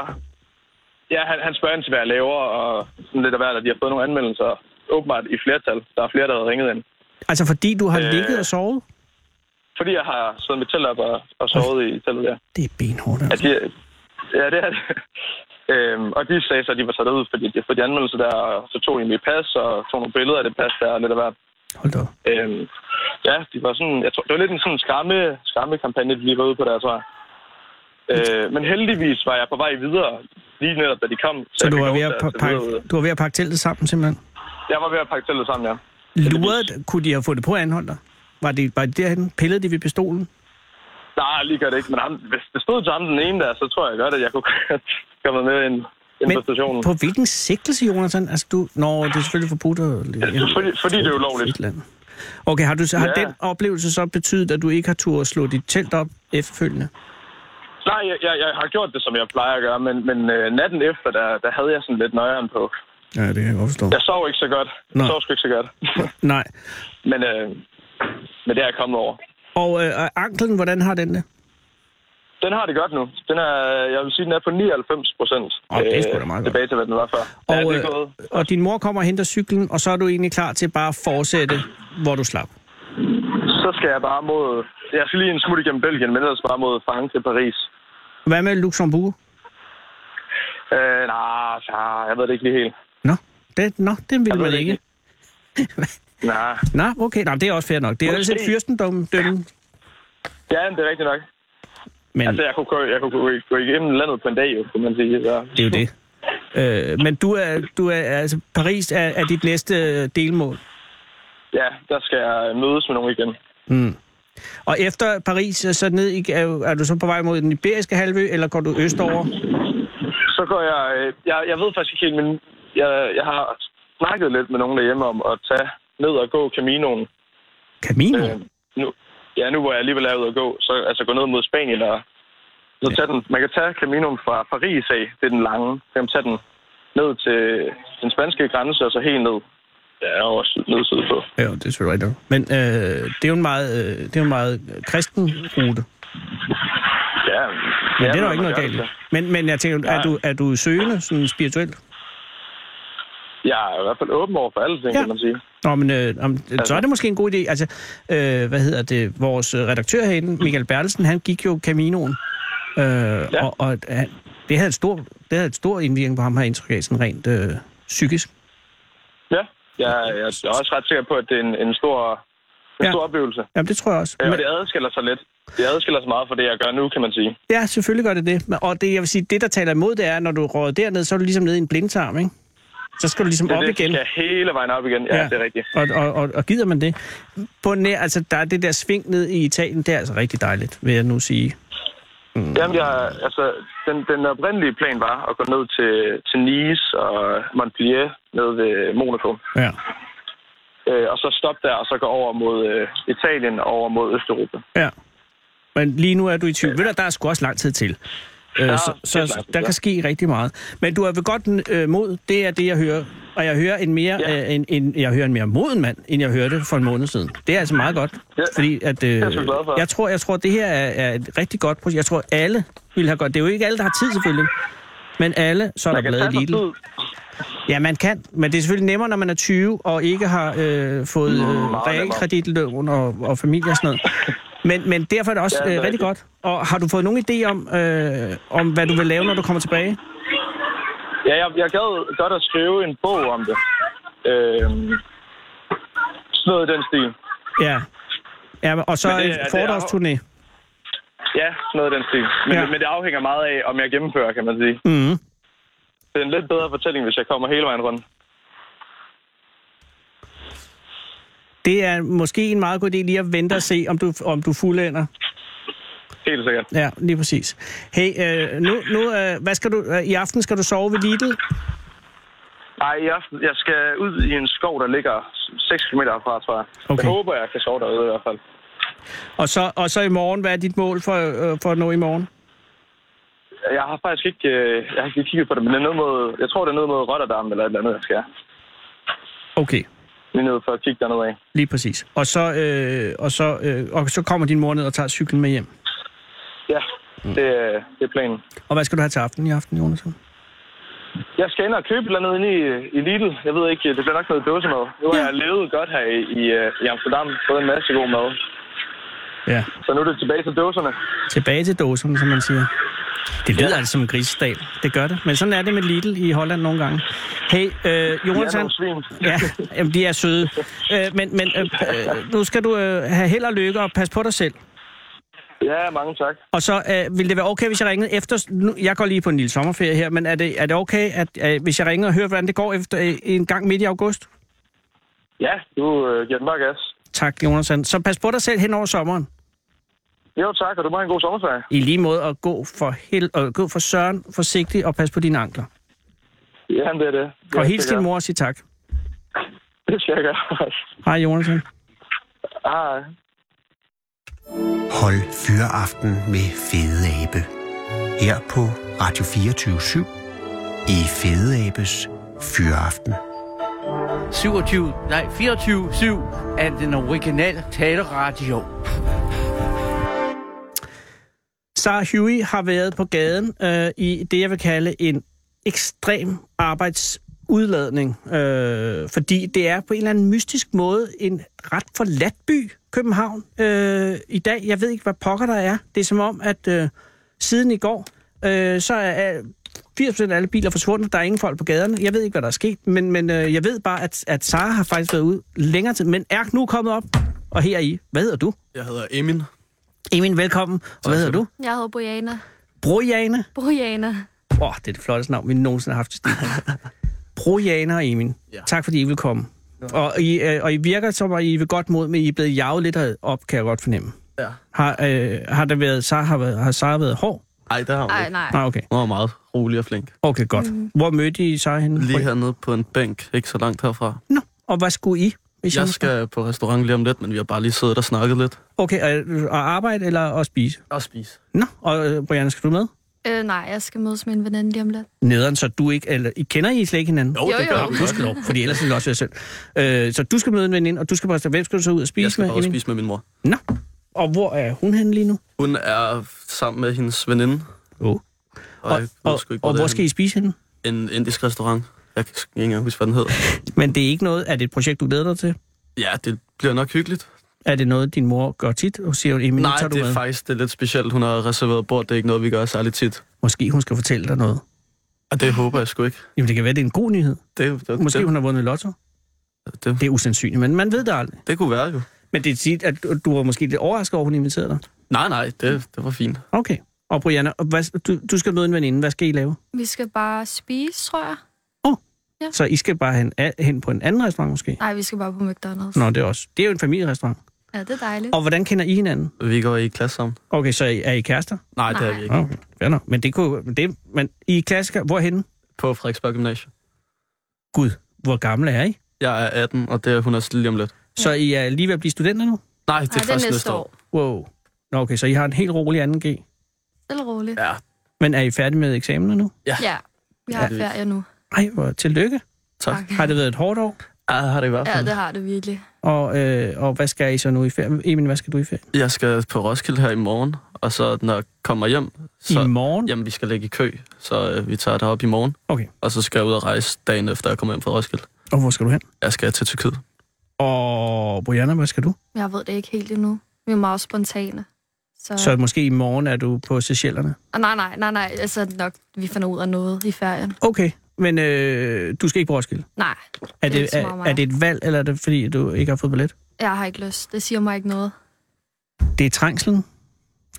Speaker 10: Ja, han, han spørger ind til, hvad jeg laver, og sådan lidt af hvert, at de har fået nogle anmeldelser. Åbenbart i flertal. Der er flere, der har ringet ind.
Speaker 5: Altså, fordi du har
Speaker 10: Øh.
Speaker 5: ligget og sovet?
Speaker 10: Fordi jeg har siddet mit telt op og, og sovet i teltet, ja.
Speaker 5: Det er benhårdt,
Speaker 10: Ja,
Speaker 5: altså.
Speaker 10: de, ja det er det. Øhm, og de sagde så, at de var sat ud, fordi de havde fået de anmeldelser der, og så tog de mit pas og tog nogle billeder af det pas der, og lidt af hvert.
Speaker 5: Hold da op.
Speaker 10: Øhm, ja, de var sådan, jeg tror, det var lidt en sådan skræmme, skræmme kampagne, de lige var ude på der, tror jeg. Øh, men heldigvis var jeg på vej videre, lige netop da de kom.
Speaker 5: Så
Speaker 10: jeg
Speaker 5: du
Speaker 10: fik
Speaker 5: var,
Speaker 10: lov
Speaker 5: ved at
Speaker 10: til
Speaker 5: pa-
Speaker 10: tage videre ud.
Speaker 5: pakke, du var ved at pakke teltet sammen, simpelthen?
Speaker 10: Jeg var ved at pakke teltet sammen, ja.
Speaker 5: Luret, kunne de have fået det på at anholde dig? Var det, var det derhen? Pillede de ved pistolen?
Speaker 10: Nej, lige gør det ikke, men ham, hvis det stod til ham den ene der, så tror jeg godt, at jeg kunne komme med ind, ind på stationen.
Speaker 5: på hvilken sigtelse, Jonathan? Altså, du... Nå, det er selvfølgelig forbudt at...
Speaker 10: Ja, fordi- fordi det er ulovligt.
Speaker 5: Et eller andet. Okay, har, du, så- har
Speaker 10: Ja.
Speaker 5: den oplevelse så betydet, at du ikke har turde slå dit telt op efterfølgende?
Speaker 10: Nej, jeg, jeg, jeg har gjort det, som jeg plejer at gøre, men, men øh, natten efter, der, der havde jeg sådan lidt nøjeren på.
Speaker 5: Ja, det kan jeg godt forstå.
Speaker 10: Jeg sov ikke så godt. Jeg
Speaker 5: Nå.
Speaker 10: sov sgu ikke så godt.
Speaker 5: Nej.
Speaker 10: men, øh, men det er jeg kommet over.
Speaker 5: Og øh, og anklen, hvordan har den det?
Speaker 10: Den har det godt nu. Den er, jeg vil sige, den er på 99 procent. øh,
Speaker 5: Åh, det er sgu da meget godt.
Speaker 10: Tilbage til, hvad den var før.
Speaker 5: Og,
Speaker 10: ja, det
Speaker 5: øh,
Speaker 10: er gået.
Speaker 5: og din mor kommer og henter cyklen, og så er du egentlig klar til bare at fortsætte, hvor du slap.
Speaker 10: Så skal jeg bare mod... Jeg skal lige en smut igennem Belgien, men ellers bare mod Frank til Paris.
Speaker 5: Hvad med Luxembourg?
Speaker 10: Øh, nej, nah, jeg ved det ikke lige helt.
Speaker 5: Nå, det, nå, den vil
Speaker 10: ved
Speaker 5: man
Speaker 10: det
Speaker 5: ikke.
Speaker 10: ikke. Nej.
Speaker 5: Nå, okay, nå, det er også fair nok. Det er
Speaker 10: Måske.
Speaker 5: altså et fyrstendømme, dømme,
Speaker 10: Ja, men det er rigtigt nok.
Speaker 5: men
Speaker 10: Altså, jeg kunne, gå- jeg kunne gå- gå igennem landet på en dag, jo, kunne man sige. Så.
Speaker 5: det er jo det. Øh, men du er, du er, altså Paris er, er dit næste øh, delmål.
Speaker 10: Ja, der skal jeg mødes med nogen igen.
Speaker 5: Og efter Paris, øh, så ned, i- er, er du så på vej mod den iberiske halvø, eller går du østover?
Speaker 10: Så går jeg... øh, Jeg, jeg ved faktisk ikke helt, men jeg, jeg har snakket lidt med nogen derhjemme om at tage ned og gå Caminoen.
Speaker 5: Camino?
Speaker 10: Øh, nu, ja, nu hvor jeg alligevel er ude at gå, så altså gå ned mod Spanien og så tage den. Man kan tage Caminoen fra Paris af, det er den lange. Så kan man tage den ned til den spanske grænse, og så helt ned. Ja, over syd, ned sydpå.
Speaker 5: Ja, det er selvfølgelig rigtigt. Men øh, det er jo en meget, øh, det er jo en meget kristen rute.
Speaker 10: Ja,
Speaker 5: Men
Speaker 10: ja,
Speaker 5: det er der jo
Speaker 10: man
Speaker 5: ikke noget
Speaker 10: gør det
Speaker 5: galt. i.
Speaker 10: så.
Speaker 5: Men, men jeg tænker, er
Speaker 10: Nej.
Speaker 5: du, er du søgende sådan spirituelt?
Speaker 10: Jeg er i hvert fald åben over for alle ting,
Speaker 5: Ja.
Speaker 10: ja. kan man sige.
Speaker 5: Nå, men øh, om, så er det måske en god idé. Altså, øh, hvad hedder det? Vores øh, redaktør herinde, Michael Bertelsen, han gik jo Caminoen. Øh, ja. Og, og øh, det, havde en stor, det havde en stor indvirkning på ham, har jeg indtryk af, sådan rent øh, psykisk.
Speaker 10: Ja, jeg, jeg er også ret sikker på, at det er en, en stor, en
Speaker 5: Ja.
Speaker 10: ja. stor oplevelse.
Speaker 5: Jamen, det tror jeg også.
Speaker 10: Ja, og
Speaker 5: Men,
Speaker 10: det adskiller sig lidt. Det adskiller sig meget fra det, jeg gør nu, kan man sige.
Speaker 5: ja, selvfølgelig gør det det. Men- Og det, jeg vil sige, det, der taler imod, det er, når du råder derned, så er du ligesom nede i en blindtarm, ikke? Så skal du ligesom
Speaker 10: Det er
Speaker 5: op
Speaker 10: det,
Speaker 5: igen.
Speaker 10: Jeg skal hele vejen op igen. Ja, ja. det er rigtigt.
Speaker 5: Og, og, og, og gider man det? På nær, altså, der er det der sving ned i Italien, det er altså rigtig dejligt, vil jeg nu sige.
Speaker 10: Jamen, jeg, altså, den, den oprindelige plan var at gå ned til, til Nice og Montpellier, ned ved Monaco.
Speaker 5: Ja.
Speaker 10: Øh, og så stoppe der, og så gå over mod øh, Italien og over mod Østeuropa.
Speaker 5: Ja. Men lige nu er du i tvivl. Ved du, der er sgu også lang tid til. Øh,
Speaker 10: Ja,
Speaker 5: så,
Speaker 10: det er
Speaker 5: så
Speaker 10: klart,
Speaker 5: der
Speaker 10: ja.
Speaker 5: kan ske rigtig meget. Men du er ved godt øh, mod, det er det, jeg hører. Og jeg hører en mere,
Speaker 10: Ja.
Speaker 5: øh, en, en, jeg hører en mere moden mand, end jeg hørte for en måned siden. Det er altså meget godt.
Speaker 10: Ja,
Speaker 5: Fordi at, øh,
Speaker 10: jeg sgu glad for.
Speaker 5: jeg tror, jeg tror, det her er, er et rigtig godt projekt. Jeg tror, alle vil have godt. Det er jo ikke alle, der har tid selvfølgelig. Men alle, så er der
Speaker 10: Man kan tage
Speaker 5: bladet
Speaker 10: sig
Speaker 5: Lidl.
Speaker 10: tid.
Speaker 5: Ja, man kan, men det er selvfølgelig nemmere, når man er 20 og ikke har øh, fået øh,
Speaker 10: Mm, nemmere.
Speaker 5: realkreditlån og, og familie og sådan noget. Men, men derfor er det også
Speaker 10: Ja,
Speaker 5: øh,
Speaker 10: det er
Speaker 5: rigtig
Speaker 10: rigtigt.
Speaker 5: godt. Og har du fået nogen idé om, øh, om hvad du vil lave, når du kommer tilbage?
Speaker 10: Ja, jeg, jeg gad godt at skrive en bog om det. Øh, sådan noget i den stil.
Speaker 5: Ja. ja og så
Speaker 10: Men det
Speaker 5: en
Speaker 10: er- det er-
Speaker 5: foredragsturné.
Speaker 10: Ja, sådan noget i den stil. Men,
Speaker 5: Ja.
Speaker 10: ja. men det afhænger meget af, om jeg gennemfører, kan man sige.
Speaker 5: Mhm.
Speaker 10: Det er en lidt bedre fortælling, hvis jeg kommer hele vejen rundt.
Speaker 5: Det er måske en meget god idé lige at vente og se, om du, om du fuldender.
Speaker 10: Helt sikkert.
Speaker 5: Ja, lige præcis. Hey, øh, nu, nu øh, hvad skal du, øh, i aften skal du sove ved Lidl?
Speaker 10: Nej, i aften. Jeg skal ud i en skov, der ligger 6 km herfra, tror jeg.
Speaker 5: Okay.
Speaker 10: Jeg håber, jeg kan sove derude i hvert fald.
Speaker 5: Og så, og så i morgen, hvad er dit mål for, øh, for at nå i morgen?
Speaker 10: Jeg har faktisk ikke, øh, jeg har ikke lige kigget på det, men det er noget mod, jeg tror, det er noget mod Rotterdam eller et eller andet, jeg skal.
Speaker 5: Okay,
Speaker 10: Lige ned for at kigge dernede af.
Speaker 5: lige præcis. Og så, øh, og så, øh, og så kommer din mor ned og tager cyklen med hjem.
Speaker 10: Ja,
Speaker 5: Mm.
Speaker 10: det, øh, det er planen.
Speaker 5: Og hvad skal du have til aften i aften, Jonas?
Speaker 10: Jeg skal ind og købe et eller andet inde i, i Lidl. Jeg ved ikke, det bliver nok noget dåsemad. Nu har jeg levet godt her i, i, øh, i Amsterdam, fået en masse god mad.
Speaker 5: Ja,
Speaker 10: Så nu er det tilbage til dåserne.
Speaker 5: tilbage til dåsen, som man siger. Det lyder ja. altså som en grisestal. Det gør det. Men sådan er det med Lidl i Holland nogle gange. Hey, øh, Jonas,
Speaker 10: Ja, nogle svin.
Speaker 5: Ja, jamen, de er søde. Øh, men men øh, øh, nu skal du øh, have held og lykke og passe på dig selv.
Speaker 10: Ja, mange tak.
Speaker 5: Og så øh, vil det være okay, hvis jeg ringede efter... Nu, jeg går lige på en lille sommerferie her, men er det, er det okay, at, øh, hvis jeg ringer og hører, hvordan det går efter øh, en gang midt i august?
Speaker 10: Ja, du øh, giver den bare gas.
Speaker 5: Tak, Jonas. Sand. Så pas på dig selv hen over sommeren.
Speaker 10: Jo, tak, og du må have en god sommerferie.
Speaker 5: I lige måde at gå for, hel, og gå for søren forsigtigt og pas på dine ankler.
Speaker 10: Ja, det er det.
Speaker 5: Og
Speaker 10: Ja,
Speaker 5: hils
Speaker 10: det
Speaker 5: din
Speaker 10: gør.
Speaker 5: mor og sig tak.
Speaker 10: Det skal jeg Ah. gøre.
Speaker 5: Hej, Jonas. Sand.
Speaker 10: Hej.
Speaker 3: Hold fyreaften med Fede Abe. Her på Radio 24 i Fede Abes Fyreaften.
Speaker 11: 27, nej, 24-7 af den originale taleradio.
Speaker 5: Sarah Huey har været på gaden øh, i det, jeg vil kalde en ekstrem arbejdsudladning, øh, fordi det er på en eller anden mystisk måde en ret forladt by, København, øh, i dag. Jeg ved ikke, hvad pokker der er. Det er som om, at øh, siden i går, øh, så er, er 80% af alle biler forsvundet. Der er ingen folk på gaderne. Jeg ved ikke, hvad der er sket, men, men øh, jeg ved bare, at, at Sara har faktisk været ude længere tid, men er nu kommet op, og her er I. Hvad hedder du?
Speaker 7: Jeg hedder Emin.
Speaker 5: Emin, velkommen. Og hvad hedder du?
Speaker 12: Jeg hedder Brianna.
Speaker 5: Brojane.
Speaker 12: Brianna.
Speaker 5: Åh, oh, det er det flotteste navn, vi nogensinde har haft til stil. Brojaner og Emin, ja.
Speaker 7: Ja.
Speaker 5: tak fordi I vil komme. Og I, øh, og I virker som, at I vil godt mod, men I er blevet jaget lidt op, kan jeg godt fornemme.
Speaker 7: Ja.
Speaker 5: Har, øh, har der været, Sara har, været, har Sara været hård?
Speaker 7: Ej, der har hun
Speaker 12: Ej,
Speaker 7: ikke.
Speaker 12: nej.
Speaker 5: Nej, okay.
Speaker 7: Hun var meget rolig og flink.
Speaker 5: Okay, godt. Mm. Hvor mødte I Sara henne?
Speaker 7: Lige hernede på en bænk, ikke så langt herfra.
Speaker 5: Nå, og hvad skulle I? Hvis I
Speaker 7: Jeg
Speaker 5: nu-
Speaker 7: skal på restaurant lige om lidt, men vi har bare lige siddet og snakket lidt.
Speaker 5: Okay, og, og arbejde eller at spise?
Speaker 7: Og spise.
Speaker 5: Nå, og øh, Brianna, skal du med?
Speaker 12: Øh, nej, jeg skal mødes med en veninde lige om lidt.
Speaker 5: Nederen, så du ikke... Eller, I kender I slet ikke hinanden?
Speaker 7: Jo,
Speaker 12: Jo,
Speaker 7: det gør
Speaker 12: jo.
Speaker 7: vi
Speaker 5: Nå,
Speaker 7: godt.
Speaker 5: gudskelov, fordi ellers ville det også være selv. Øh, så du skal møde en veninde, og du skal bare... Hvem skal du så ud og spise
Speaker 7: Jeg skal
Speaker 5: med?
Speaker 7: bare ud
Speaker 5: Emin?
Speaker 7: og spise med min mor.
Speaker 5: Nå, og hvor er hun henne lige nu?
Speaker 7: Hun er sammen med hendes veninde.
Speaker 5: Oh.
Speaker 7: Og,
Speaker 5: Og,
Speaker 7: jeg ved
Speaker 5: og,
Speaker 7: sgu ikke,
Speaker 5: og
Speaker 7: det
Speaker 5: hvor
Speaker 7: er
Speaker 5: skal I spise henne?
Speaker 7: henne. En indisk restaurant. Jeg kan sgu ikke engang huske, hvad den hedder.
Speaker 5: Men det er ikke noget, er det et projekt, du glæder dig til?
Speaker 7: Ja, det bliver nok hyggeligt.
Speaker 5: Er det noget, din mor gør tit? Og siger, Emil, nu
Speaker 7: Nej,
Speaker 5: tager du
Speaker 7: det er
Speaker 5: med.
Speaker 7: faktisk det er lidt specielt. Hun har reserveret bord. Det er ikke noget, vi gør særlig tit.
Speaker 5: Måske hun skal fortælle dig noget.
Speaker 7: Og det håber jeg sgu ikke.
Speaker 5: Jamen, det kan være, det er en god nyhed.
Speaker 7: Det, det,
Speaker 5: Måske
Speaker 7: det,
Speaker 5: hun har vundet lotto.
Speaker 7: det, det,
Speaker 5: Det er usandsynligt, men man ved det aldrig.
Speaker 7: det kunne være jo.
Speaker 5: Men det er tit, at du- du var måske lidt overrasket over, at hun inviterede dig.
Speaker 7: Nej, nej, det, det var fint.
Speaker 5: Okay. Og Brianna, og hvad, du, du skal møde en veninde. Hvad skal I lave?
Speaker 12: Vi skal bare spise, tror jeg. Ja.
Speaker 5: Så I skal bare hen, a- hen på en anden restaurant måske?
Speaker 12: Nej, vi skal bare på McDonald's.
Speaker 5: Nå, det er også. Det er jo en familierestaurant.
Speaker 12: Ja, det er dejligt.
Speaker 5: Og hvordan kender I hinanden?
Speaker 7: Vi går i klasse sammen.
Speaker 5: Okay, så er I- er I kærester?
Speaker 7: Nej, det er vi
Speaker 12: Nej.
Speaker 7: ikke.
Speaker 5: Okay, fair nok. Men det kunne jo- men det, men I er klassiker, hvorhenne?
Speaker 7: På Frederiksberg Gymnasium.
Speaker 5: Gud, hvor gamle er I?
Speaker 7: Jeg er 18, og det er hun også lige om lidt.
Speaker 5: Så I er lige ved at blive studenter nu?
Speaker 7: Nej, det
Speaker 12: Nej,
Speaker 7: er først næste år.
Speaker 5: Wow. Nå, okay, så I har en helt rolig 2G.
Speaker 12: Stille og roligt.
Speaker 7: Ja,
Speaker 5: Men er I færdige med eksamener nu?
Speaker 12: Ja, vi har
Speaker 7: Ja.
Speaker 12: ferie nu.
Speaker 5: Ej, hvor tillykke.
Speaker 7: tak.
Speaker 5: Har det været et hårdt år?
Speaker 7: Ja, har det i hvert
Speaker 12: Ja,
Speaker 7: fald.
Speaker 12: det har det virkelig.
Speaker 5: Og, øh, og hvad skal I så nu i ferie? Emil, hvad skal du i ferie?
Speaker 7: Jeg skal på Roskilde her i morgen, og så når jeg kommer hjem, så...
Speaker 5: I morgen?
Speaker 7: Jamen, vi skal ligge i kø, så øh, vi tager det op i morgen.
Speaker 5: Okay.
Speaker 7: Og så skal jeg ud og rejse dagen efter, jeg kommer hjem fra Roskilde.
Speaker 5: Og hvor skal du hen?
Speaker 7: Jeg skal til Tyrkiet.
Speaker 5: Og Brianna, hvad skal du?
Speaker 12: Jeg ved det ikke helt endnu. Vi er meget spontane. Så...
Speaker 5: Så måske i morgen er du på Seychellerne.
Speaker 12: Ah, nej, nej, nej, nej. Altså nok, vi finder ud af noget i ferien.
Speaker 5: Okay, men øh, du skal ikke på Roskilde.
Speaker 12: Nej,
Speaker 5: Er
Speaker 12: Det er
Speaker 5: det,
Speaker 12: ikke så meget
Speaker 5: er,
Speaker 12: mig.
Speaker 5: er det et valg, eller er det fordi, du ikke har fået billet?
Speaker 12: jeg har ikke lyst. Det siger mig ikke noget.
Speaker 5: Det er trængslen,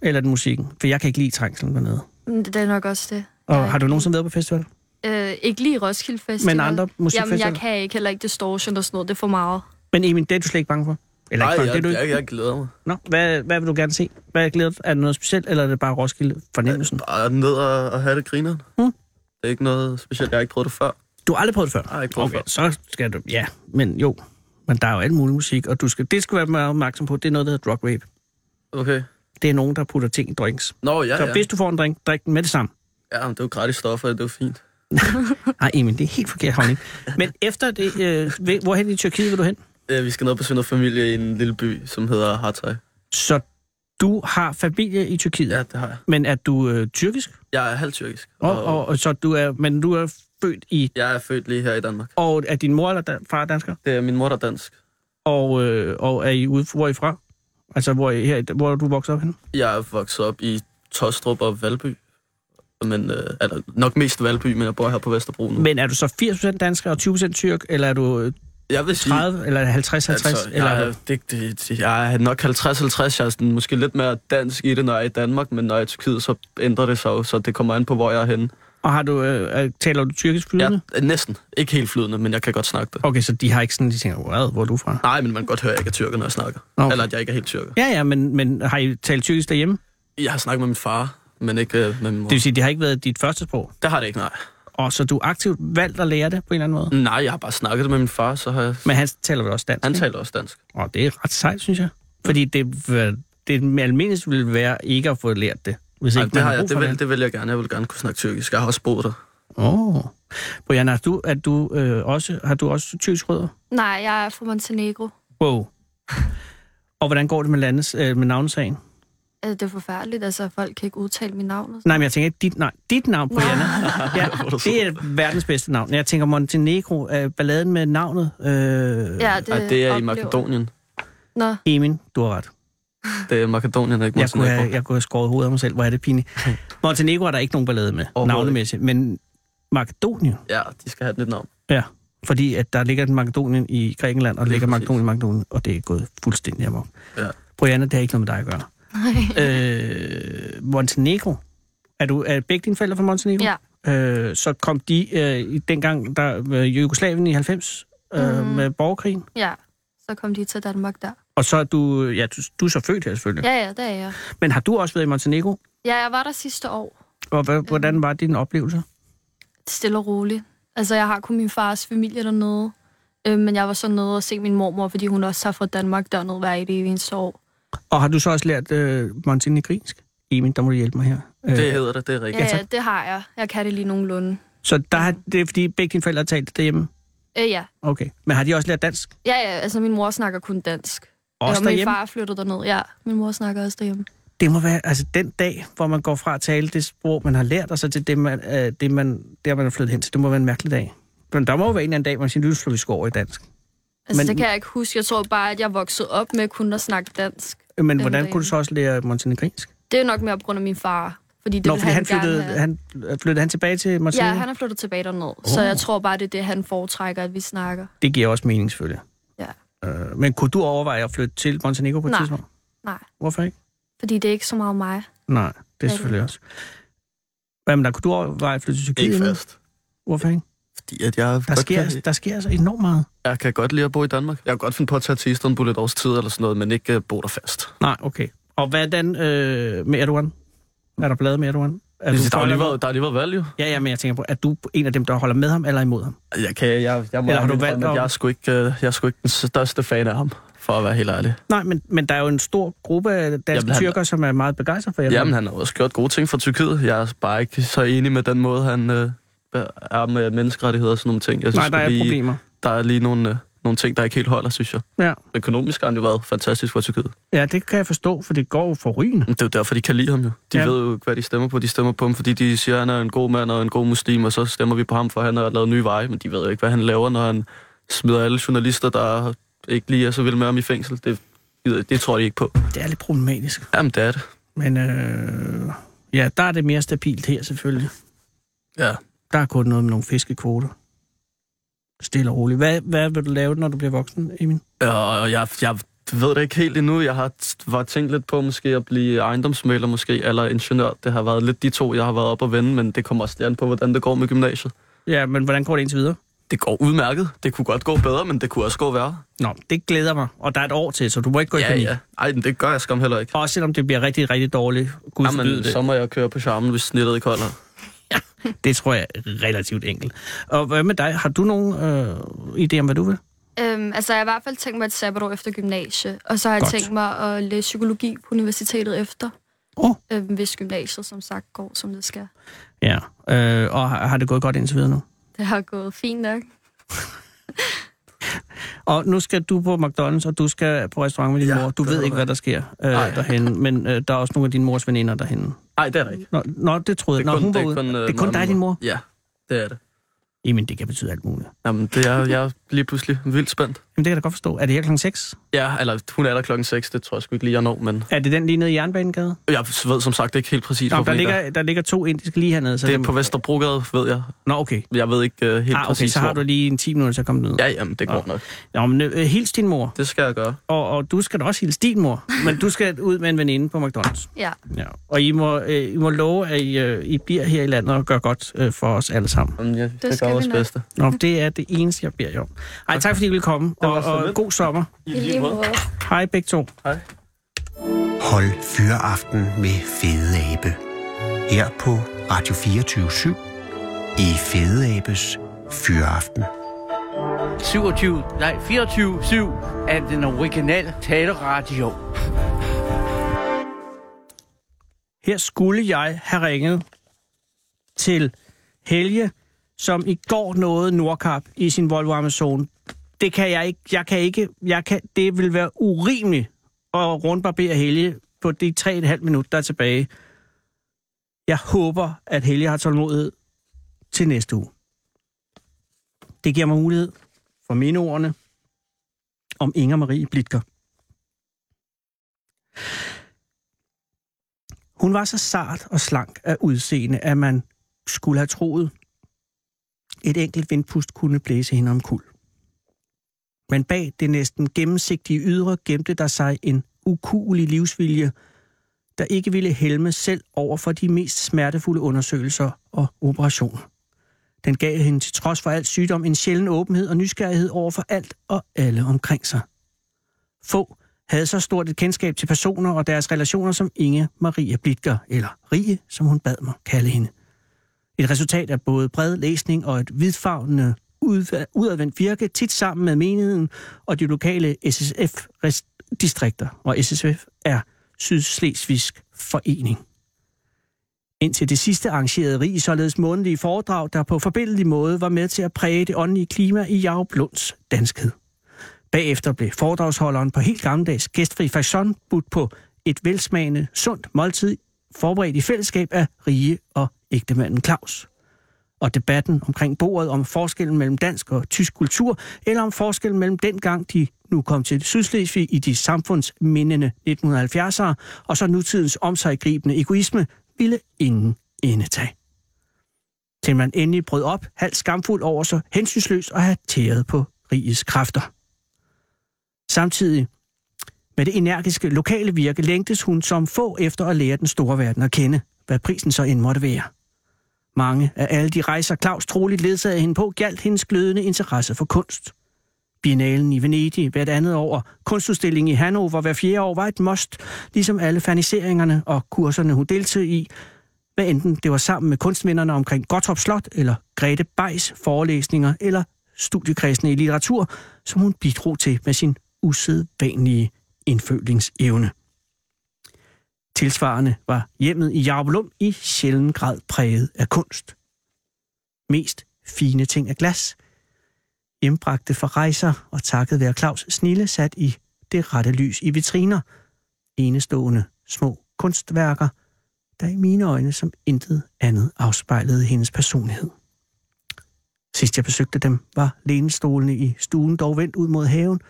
Speaker 5: eller er det musikken? For jeg kan ikke lide trængslen dernede.
Speaker 12: Men Det er nok også det. Jeg er
Speaker 5: Og har du
Speaker 12: ikke-
Speaker 5: nogensinde været på festival?
Speaker 12: Øh, ikke lige Roskilde Festival.
Speaker 5: Men andre
Speaker 12: Jamen,
Speaker 5: musikfestivaler?
Speaker 12: jeg kan ikke heller ikke distortion og sådan noget. Det er for meget.
Speaker 5: Men Emil, det er du slet ikke bange for? Eller
Speaker 7: Nej,
Speaker 5: ikke,
Speaker 7: jeg,
Speaker 5: det, er du
Speaker 7: jeg,
Speaker 5: ikke?
Speaker 7: jeg, glæder mig.
Speaker 5: Nå, hvad, hvad vil du gerne se? Hvad er glædet? Er det noget specielt, eller er det bare Roskilde fornemmelsen?
Speaker 7: Bare ned og, og have det grineren.
Speaker 5: Mm.
Speaker 7: Det er ikke noget specielt. Jeg har ikke prøvet det før.
Speaker 5: Du har aldrig prøvet det før?
Speaker 7: Jeg har ikke prøvet det
Speaker 5: så skal du... Ja, men jo. Men der er jo alt mulig musik, og du skal, det skal du være meget opmærksom på. Det er noget, der hedder drug rape.
Speaker 7: før. Okay.
Speaker 5: Det er nogen, der putter ting i drinks.
Speaker 7: Nå, ja,
Speaker 5: så
Speaker 7: ja.
Speaker 5: hvis du får en drink, drik den med det samme.
Speaker 7: Ja, men det er jo gratis stoffer, det er jo fint.
Speaker 5: Nej, Emil, det er helt forkert, Havning. Men efter det, øh, ved- hvorhen i Tyrkiet vil du hen?
Speaker 7: Øh, Vi skal ned og besøge noget familie i en lille by, som hedder Hatay.
Speaker 5: Så du har familie i Tyrkiet?
Speaker 7: Ja, det har jeg.
Speaker 5: Men er du øh, tyrkisk?
Speaker 7: Jeg er halvtyrkisk.
Speaker 5: Og, og, og, så du er, men du er født i...
Speaker 7: Jeg er født lige her i Danmark.
Speaker 5: Og er din mor eller da, far dansker?
Speaker 7: Det er min mor, der er dansk.
Speaker 5: Og, øh, og er I ude, hvor er I fra? Altså, hvor er, I, her, i- hvor er du vokset op henne?
Speaker 7: Jeg er vokset op i Tostrup og Valby. Men, øh, eller nok mest Valby, men jeg bor her på Vesterbro nu.
Speaker 5: Men er du så 80% dansker og 20% tyrk, eller er du øh,
Speaker 7: jeg vil sige,
Speaker 5: 30, eller 50-50? Altså,
Speaker 7: jeg,
Speaker 5: eller er
Speaker 7: er,
Speaker 5: du,
Speaker 7: det, det, jeg er nok 50-50. Jeg er sådan, måske lidt mere dansk i det, når jeg er i Danmark, men når jeg er i Tyrkiet, så ændrer det sig jo, så det kommer an på, hvor jeg er henne.
Speaker 5: og har du, øh, øh, taler du tyrkisk flydende?
Speaker 7: Jeg, er Øh, næsten. Ikke helt flydende, men jeg kan godt snakke det.
Speaker 5: Okay, så de har ikke sådan, de tænker, "Wow, hvor er du fra?
Speaker 7: Nej, men man kan godt høre, at jeg ikke er tyrker, når jeg snakker.
Speaker 5: Okay.
Speaker 7: Okay. Eller at jeg ikke er helt tyrker.
Speaker 5: Ja, ja, men, men har I talt tyrkisk derhjemme?
Speaker 7: Jeg har snakket med min far, men ikke øh, med min mor.
Speaker 5: Det vil sige, det har ikke været dit første sprog.
Speaker 7: Det har det ikke, nej.
Speaker 5: Og så du har aktivt valgt at lære det på en eller anden måde?
Speaker 7: Nej, jeg har bare snakket det med min far, så har jeg...
Speaker 5: Men han taler vel også dansk?
Speaker 7: Han
Speaker 5: ikke?
Speaker 7: taler også dansk.
Speaker 5: Og det er ret sejt, synes jeg. Fordi det, øh, det almindeligste ville være ikke at få lært det, hvis
Speaker 7: Ej,
Speaker 5: ikke
Speaker 7: det,
Speaker 5: man
Speaker 7: har
Speaker 5: brug
Speaker 7: jeg,
Speaker 5: for
Speaker 7: det, vil, det vil jeg gerne. Jeg vil gerne kunne snakke tyrkisk. Jeg har også boet der.
Speaker 5: Åh. Oh. Brianna, har du, er du, øh, også, har du også tyrkisk rødder?
Speaker 12: Nej, jeg er fra Montenegro.
Speaker 5: Wow. Og hvordan går det med landes, øh, med navnesagen?
Speaker 12: Altså, det er forfærdeligt, altså folk kan ikke udtale mit navn. og sådan.
Speaker 5: Nej, men jeg tænker ikke dit navn. Dit navn, Brianna. ja, det er verdens bedste navn. Jeg tænker Montenegro, øh, balladen med navnet. Øh,
Speaker 12: Ja,
Speaker 7: Det, Ej, det er i
Speaker 12: oplever-
Speaker 7: Makedonien.
Speaker 12: Nå,
Speaker 5: Emin, du har ret.
Speaker 7: Det er Makedonien, ikke
Speaker 5: Jeg kunne,
Speaker 7: Montenegro.
Speaker 5: have, jeg kunne have skåret hovedet af mig selv. Hvor er det pinligt. Montenegro er der ikke nogen ballade med,
Speaker 7: Overhovedet
Speaker 5: navnemæssigt. Men Makedonien,
Speaker 7: Ja, de skal have et nyt navn.
Speaker 5: ja. Fordi at der ligger et Makedonien i Grækenland, og der
Speaker 7: Lige
Speaker 5: ligger
Speaker 7: præcis.
Speaker 5: Makedonien i Makedonien, og det er gået fuldstændig amok.
Speaker 7: Ja.
Speaker 5: Brianna, det har ikke noget med dig at gøre. øh, Montenegro. Er, du, er begge dine forældre fra Montenegro?
Speaker 12: ja.
Speaker 5: Øh, så kom de øh, i dengang, der var Jugoslavien i 90, øh,
Speaker 12: Mhm.
Speaker 5: med borgerkrigen.
Speaker 12: Ja, så kom de til Danmark der.
Speaker 5: Og så er du, ja, du, du er så født her selvfølgelig.
Speaker 12: Ja, ja, der er jeg.
Speaker 5: Men har du også været i Montenegro?
Speaker 12: Ja, jeg var der sidste år.
Speaker 5: Og hva- hvordan var din oplevelse?
Speaker 12: Stille og roligt. Altså, jeg har kun min fars familie dernede. Øh, men jeg var så nede og se min mormor, fordi hun også har fra Danmark dernede hver evig eneste år.
Speaker 5: Og har du så også lært øh, montenegrinsk? Emil, der må du hjælpe mig her. Øh,
Speaker 7: Det hedder det, det er rigtigt.
Speaker 12: Ja, ja, det har jeg. Jeg kan det lige nogenlunde.
Speaker 5: Så der, har- det er fordi begge dine forældre har talt det derhjemme?
Speaker 12: Øh, ja.
Speaker 5: Okay. Men har de også lært dansk?
Speaker 12: ja, ja, altså min mor snakker kun dansk.
Speaker 5: Også
Speaker 12: og min
Speaker 5: derhjemme?
Speaker 12: far flyttede derned. Ja, min mor snakker også derhjemme.
Speaker 5: Det må være, altså den dag, hvor man går fra at tale det sprog, man har lært, og så til det, man, øh, det man, der, man er flyttet hen til, det må være en mærkelig dag. Men der må jo være en eller anden dag, hvor man siger, nu slår vi skår i dansk.
Speaker 12: Altså,
Speaker 5: Men-
Speaker 12: men... det kan jeg ikke huske. Jeg tror bare, at jeg voksede op med kun at snakke dansk.
Speaker 5: Øh, Men
Speaker 12: Den
Speaker 5: hvordan
Speaker 12: dag.
Speaker 5: kunne du så også lære montenegrinsk?
Speaker 12: Det er nok mere på grund af min far. Fordi det
Speaker 5: Nå,
Speaker 12: ville
Speaker 5: fordi han
Speaker 12: gerne
Speaker 5: flyttede,
Speaker 12: have.
Speaker 5: han, øh, flyttede han tilbage til Montenegro?
Speaker 12: Ja, han er flyttet tilbage derned. Oh. Så jeg tror bare, det er det, han foretrækker, at vi snakker.
Speaker 5: Det giver også mening, selvfølgelig.
Speaker 12: Ja.
Speaker 5: Øh, men kunne du overveje at flytte til Montenegro på et
Speaker 12: Nej.
Speaker 5: tidspunkt?
Speaker 12: Nej,
Speaker 5: Hvorfor ikke?
Speaker 12: fordi det er ikke så meget mig.
Speaker 5: Nej, det er
Speaker 12: det
Speaker 5: selvfølgelig også. Hvad med dig? Kunne du overveje at flytte til Tyrkiet?
Speaker 7: Ikke
Speaker 5: nu?
Speaker 7: fast.
Speaker 5: Hvorfor ikke?
Speaker 7: Fordi at jeg,
Speaker 5: Der
Speaker 7: godt
Speaker 5: sker,
Speaker 7: kan,
Speaker 5: der sker altså enormt meget.
Speaker 7: jeg kan godt lide at bo i Danmark. Jeg kan godt finde på at tage til Istanbul et års tid eller sådan noget, men ikke uh, bo der fast.
Speaker 5: Nej, okay. Og hvordan øh, med Erdogan? Er der blade med Erdogan? Er
Speaker 7: Er
Speaker 5: du
Speaker 7: der,
Speaker 5: for
Speaker 7: har
Speaker 5: eller
Speaker 7: lige
Speaker 5: imod?
Speaker 7: været, der har lige været valg, jo.
Speaker 5: Ja, ja, men jeg tænker på, er du en af dem, der holder med ham eller imod ham?
Speaker 7: Jeg, kan, jeg, jeg, må
Speaker 5: Eller har du
Speaker 7: indrømme,
Speaker 5: valgt
Speaker 7: at
Speaker 5: om-
Speaker 7: jeg er, sgu ikke, øh, jeg er sgu ikke den største fan af ham, for at være helt ærlig.
Speaker 5: Nej, men, men der er jo en stor gruppe af danske
Speaker 7: Jamen, han-
Speaker 5: tyrker, som er meget begejstret for Erdogan.
Speaker 7: Jamen, han har også gjort gode ting for Tyrkiet. Jeg er bare ikke så enig med den måde, han øh, er med menneskerettigheder og sådan nogle ting. Jeg
Speaker 5: Nej, der
Speaker 7: sgu
Speaker 5: er
Speaker 7: lige,
Speaker 5: problemer.
Speaker 7: Der er lige nogle, øh, nogle ting, der ikke helt holder, synes jeg.
Speaker 5: Ja.
Speaker 7: Økonomisk har han jo været fantastisk for Tyrkiet.
Speaker 5: ja, det kan jeg forstå, for det går jo for rygende.
Speaker 7: Men Det er jo derfor, de kan lide ham jo. De
Speaker 5: Ja.
Speaker 7: ja. ved jo, ikke, hvad de stemmer på. De stemmer på ham, fordi de siger, at han er en god mand og en god muslim, og så stemmer vi på ham, for han har lavet nye veje. Men de ved jo ikke, hvad han laver, når han smider alle journalister, der ikke lige er så vilde med ham i fængsel. Det, gider- det tror de ikke på.
Speaker 5: Det er lidt problematisk.
Speaker 7: Jamen, det er det.
Speaker 5: Men øh, ja, der er det mere stabilt her selvfølgelig.
Speaker 7: Ja.
Speaker 5: Der er kun noget med nogle fiskekvoter. Stille og roligt. Hvad, hvad vil du lave, når du bliver voksen, Emil?
Speaker 7: Øh, Og jeg, jeg ved det ikke helt endnu. Jeg har t- var tænkt lidt på måske at blive ejendomsmaler måske, eller ingeniør. Det har været lidt de to, jeg har været op og vende, men det kommer også lige an på, hvordan det går med gymnasiet.
Speaker 5: Ja, men hvordan går det indtil videre?
Speaker 7: det går udmærket. Det kunne godt gå bedre, men det kunne også gå værre.
Speaker 5: Nå, det glæder mig, og der er et år til, så du må ikke gå i
Speaker 7: ja,
Speaker 5: panik.
Speaker 7: Ja, Ej, men det gør jeg skam heller ikke.
Speaker 5: Også selvom det bliver rigtig, rigtig dårligt. Gud forbyde
Speaker 7: Jamen,
Speaker 5: det.
Speaker 7: så må jeg køre på charmen, hvis snittet ikke holder.
Speaker 5: Det tror jeg er relativt enkelt. Og hvad med dig? Har du nogen øh, idé om, hvad du vil?
Speaker 12: Øhm, altså, jeg har i hvert fald tænkt mig et sabbatår efter gymnasie, og så har
Speaker 5: Godt.
Speaker 12: jeg tænkt mig at læse psykologi på universitetet efter.
Speaker 5: Oh.
Speaker 12: Øhm, hvis gymnasiet, som sagt, går, som det skal.
Speaker 5: Ja. Øh, og har har det gået godt indtil videre nu?
Speaker 12: Det har gået fint nok.
Speaker 5: Og nu skal du på McDonald's, og du skal på restaurant med din ja, mor. Du ved ikke, hvad der sker øh, derhen, men øh, der er også nogle af dine mors veninder derhen.
Speaker 7: Nej, det er der ikke.
Speaker 5: Nå, nå det troede jeg.
Speaker 7: er
Speaker 5: Nå, hun var
Speaker 7: er
Speaker 5: ude.
Speaker 7: øh,
Speaker 5: det er
Speaker 7: mig
Speaker 5: kun
Speaker 7: og
Speaker 5: dig,
Speaker 7: min
Speaker 5: din mor?
Speaker 7: Ja, det er det.
Speaker 5: Jamen, det kan betyde alt muligt.
Speaker 7: Jamen, det er, jeg er lige pludselig vildt spændt.
Speaker 5: Jamen, det kan jeg da godt forstå. Er det her klokken 6?
Speaker 7: Ja, eller hun er der klokken 6, det tror jeg sgu ikke lige, jeg når, men...
Speaker 5: Er det den lige nede i Jernbanegade?
Speaker 7: Jeg ved som sagt ikke helt præcis,
Speaker 5: Nå,
Speaker 7: hvorfor
Speaker 5: der,
Speaker 7: den er
Speaker 5: ligger, der ligger to indiske lige hernede. Så
Speaker 7: der. Det
Speaker 5: dem-
Speaker 7: er på Vesterbrogade, ved jeg.
Speaker 5: Nå, okay.
Speaker 7: Jeg ved ikke øh, helt
Speaker 5: ah, okay,
Speaker 7: præcis,
Speaker 5: så har
Speaker 7: hvor.
Speaker 5: du lige en 10 minutter til at komme ned.
Speaker 7: Ja, jamen, det går nok.
Speaker 5: Nå, men øh, hils din mor.
Speaker 7: Det skal jeg gøre.
Speaker 5: Og, og du skal da også hilse din mor, men du skal ud med en veninde på McDonald's.
Speaker 12: Ja.
Speaker 5: Ja. Og I må, øh, I må love, at I, øh, I bliver her i landet og gør godt øh, for os alle sammen.
Speaker 7: Jamen, jeg, det, det
Speaker 12: skal
Speaker 7: gør
Speaker 12: vi
Speaker 7: vores
Speaker 12: nok.
Speaker 7: bedste.
Speaker 5: Nå, det er det eneste, jeg beder jer om. Ej, tak fordi I ville komme, og,
Speaker 7: var så
Speaker 5: og
Speaker 7: lidt.
Speaker 5: god sommer.
Speaker 12: I lige måde.
Speaker 5: Hej begge to.
Speaker 7: Hej.
Speaker 3: Hold fyreaften med Fede Abe. Her på Radio 24 i Fede Abes Fyreaften.
Speaker 11: 27, nej, 24-7 er den originale taleradio.
Speaker 5: Her skulle jeg have ringet til Helge, som i går nåede Nordkap i sin Volvo Amazon. Det kan jeg ikke. Jeg kan ikke. Jeg kan, det vil være urimeligt at rundbarbere Helge på de 3,5 minutter, der er tilbage. Jeg håber, at Helge har tålmodighed til næste uge. Det giver mig mulighed for mine ordene om Inger Marie Blitger. Hun var så sart og slank af udseende, at man skulle have troet, et enkelt vindpust kunne blæse hende om kul. Men bag det næsten gennemsigtige ydre gemte der sig en ukuelig livsvilje, der ikke ville helme selv over for de mest smertefulde undersøgelser og operationer. Den gav hende til trods for alt sygdom en sjælden åbenhed og nysgerrighed over for alt og alle omkring sig. Få havde så stort et kendskab til personer og deres relationer som Inge Maria Blitger, eller Rie, som hun bad mig kalde hende. Et resultat af både bred læsning og et vidtfavnende udva- udadvendt virke, tit sammen med menigheden og de lokale SSF-distrikter, og SSF er Sydslesvigsk Forening. Indtil det sidste arrangerede rig således månedlige foredrag, der på forbilledelig måde var med til at præge det åndelige klima i Jarup Lunds danskhed. Bagefter blev foredragsholderen på helt gammeldags gæstfri façon budt på et velsmagende, sundt måltid, forberedt i fællesskab af Rige og ægtemanden Claus. Og debatten omkring bordet om forskellen mellem dansk og tysk kultur, eller om forskellen mellem dengang de nu kom til Sydslesvig i de samfundsmindende 1970'ere, og så nutidens omsaggribende egoisme, ville ingen indetage til man endelig brød op, halvt skamfuld over så hensynsløst at have tæret på rigets kræfter. Samtidig med det energiske lokale virke længtes hun som få efter at lære den store verden at kende, hvad prisen så end måtte være. Mange af alle de rejser Claus troligt ledsagede hende på, galt hendes glødende interesse for kunst. Biennalen i Venedig hvert andet år, kunstudstillingen i Hannover hver fjerde år var et must, ligesom alle ferniseringerne og kurserne, hun deltog i, hvad enten det var sammen med kunstmænderne omkring Gottorp Slot, eller Grete Beis forelæsninger, eller studiekredsene i litteratur, som hun bidrog til med sin usædvanlige indfølingsevne. Tilsvarende var hjemmet i Jarbelum i sjælden grad præget af kunst. Mest fine ting af glas, hjembragte fra rejser og takket være Claus Snille sat i det rette lys i vitriner, enestående små kunstværker, der i mine øjne som intet andet afspejlede hendes personlighed. Sidst jeg besøgte dem, var lænestolene i stuen dog vendt ud mod haven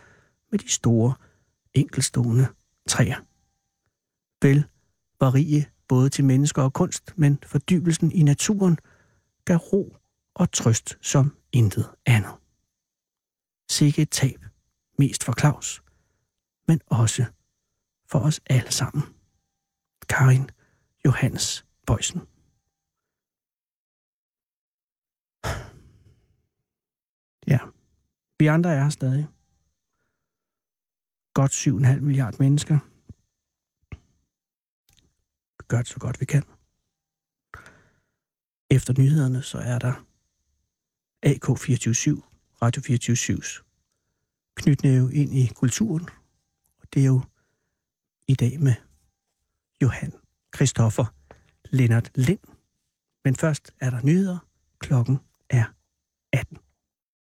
Speaker 5: med de store, enkelstående træer. Vel var rige både til mennesker og kunst, men fordybelsen i naturen gav ro og trøst som intet andet. Sikke et tab, mest for Claus, men også for os alle sammen. Karin Johannes Bøjsen. Vi andre er her stadig. Godt 7,5 milliarder mennesker. Vi gør det så godt vi kan. Efter nyhederne, så er der AK247, Radio 247's knytnæve ind i kulturen. Og det er jo i dag med Johan Christoffer Lennart Lind. Men først er der nyheder. Klokken er 18.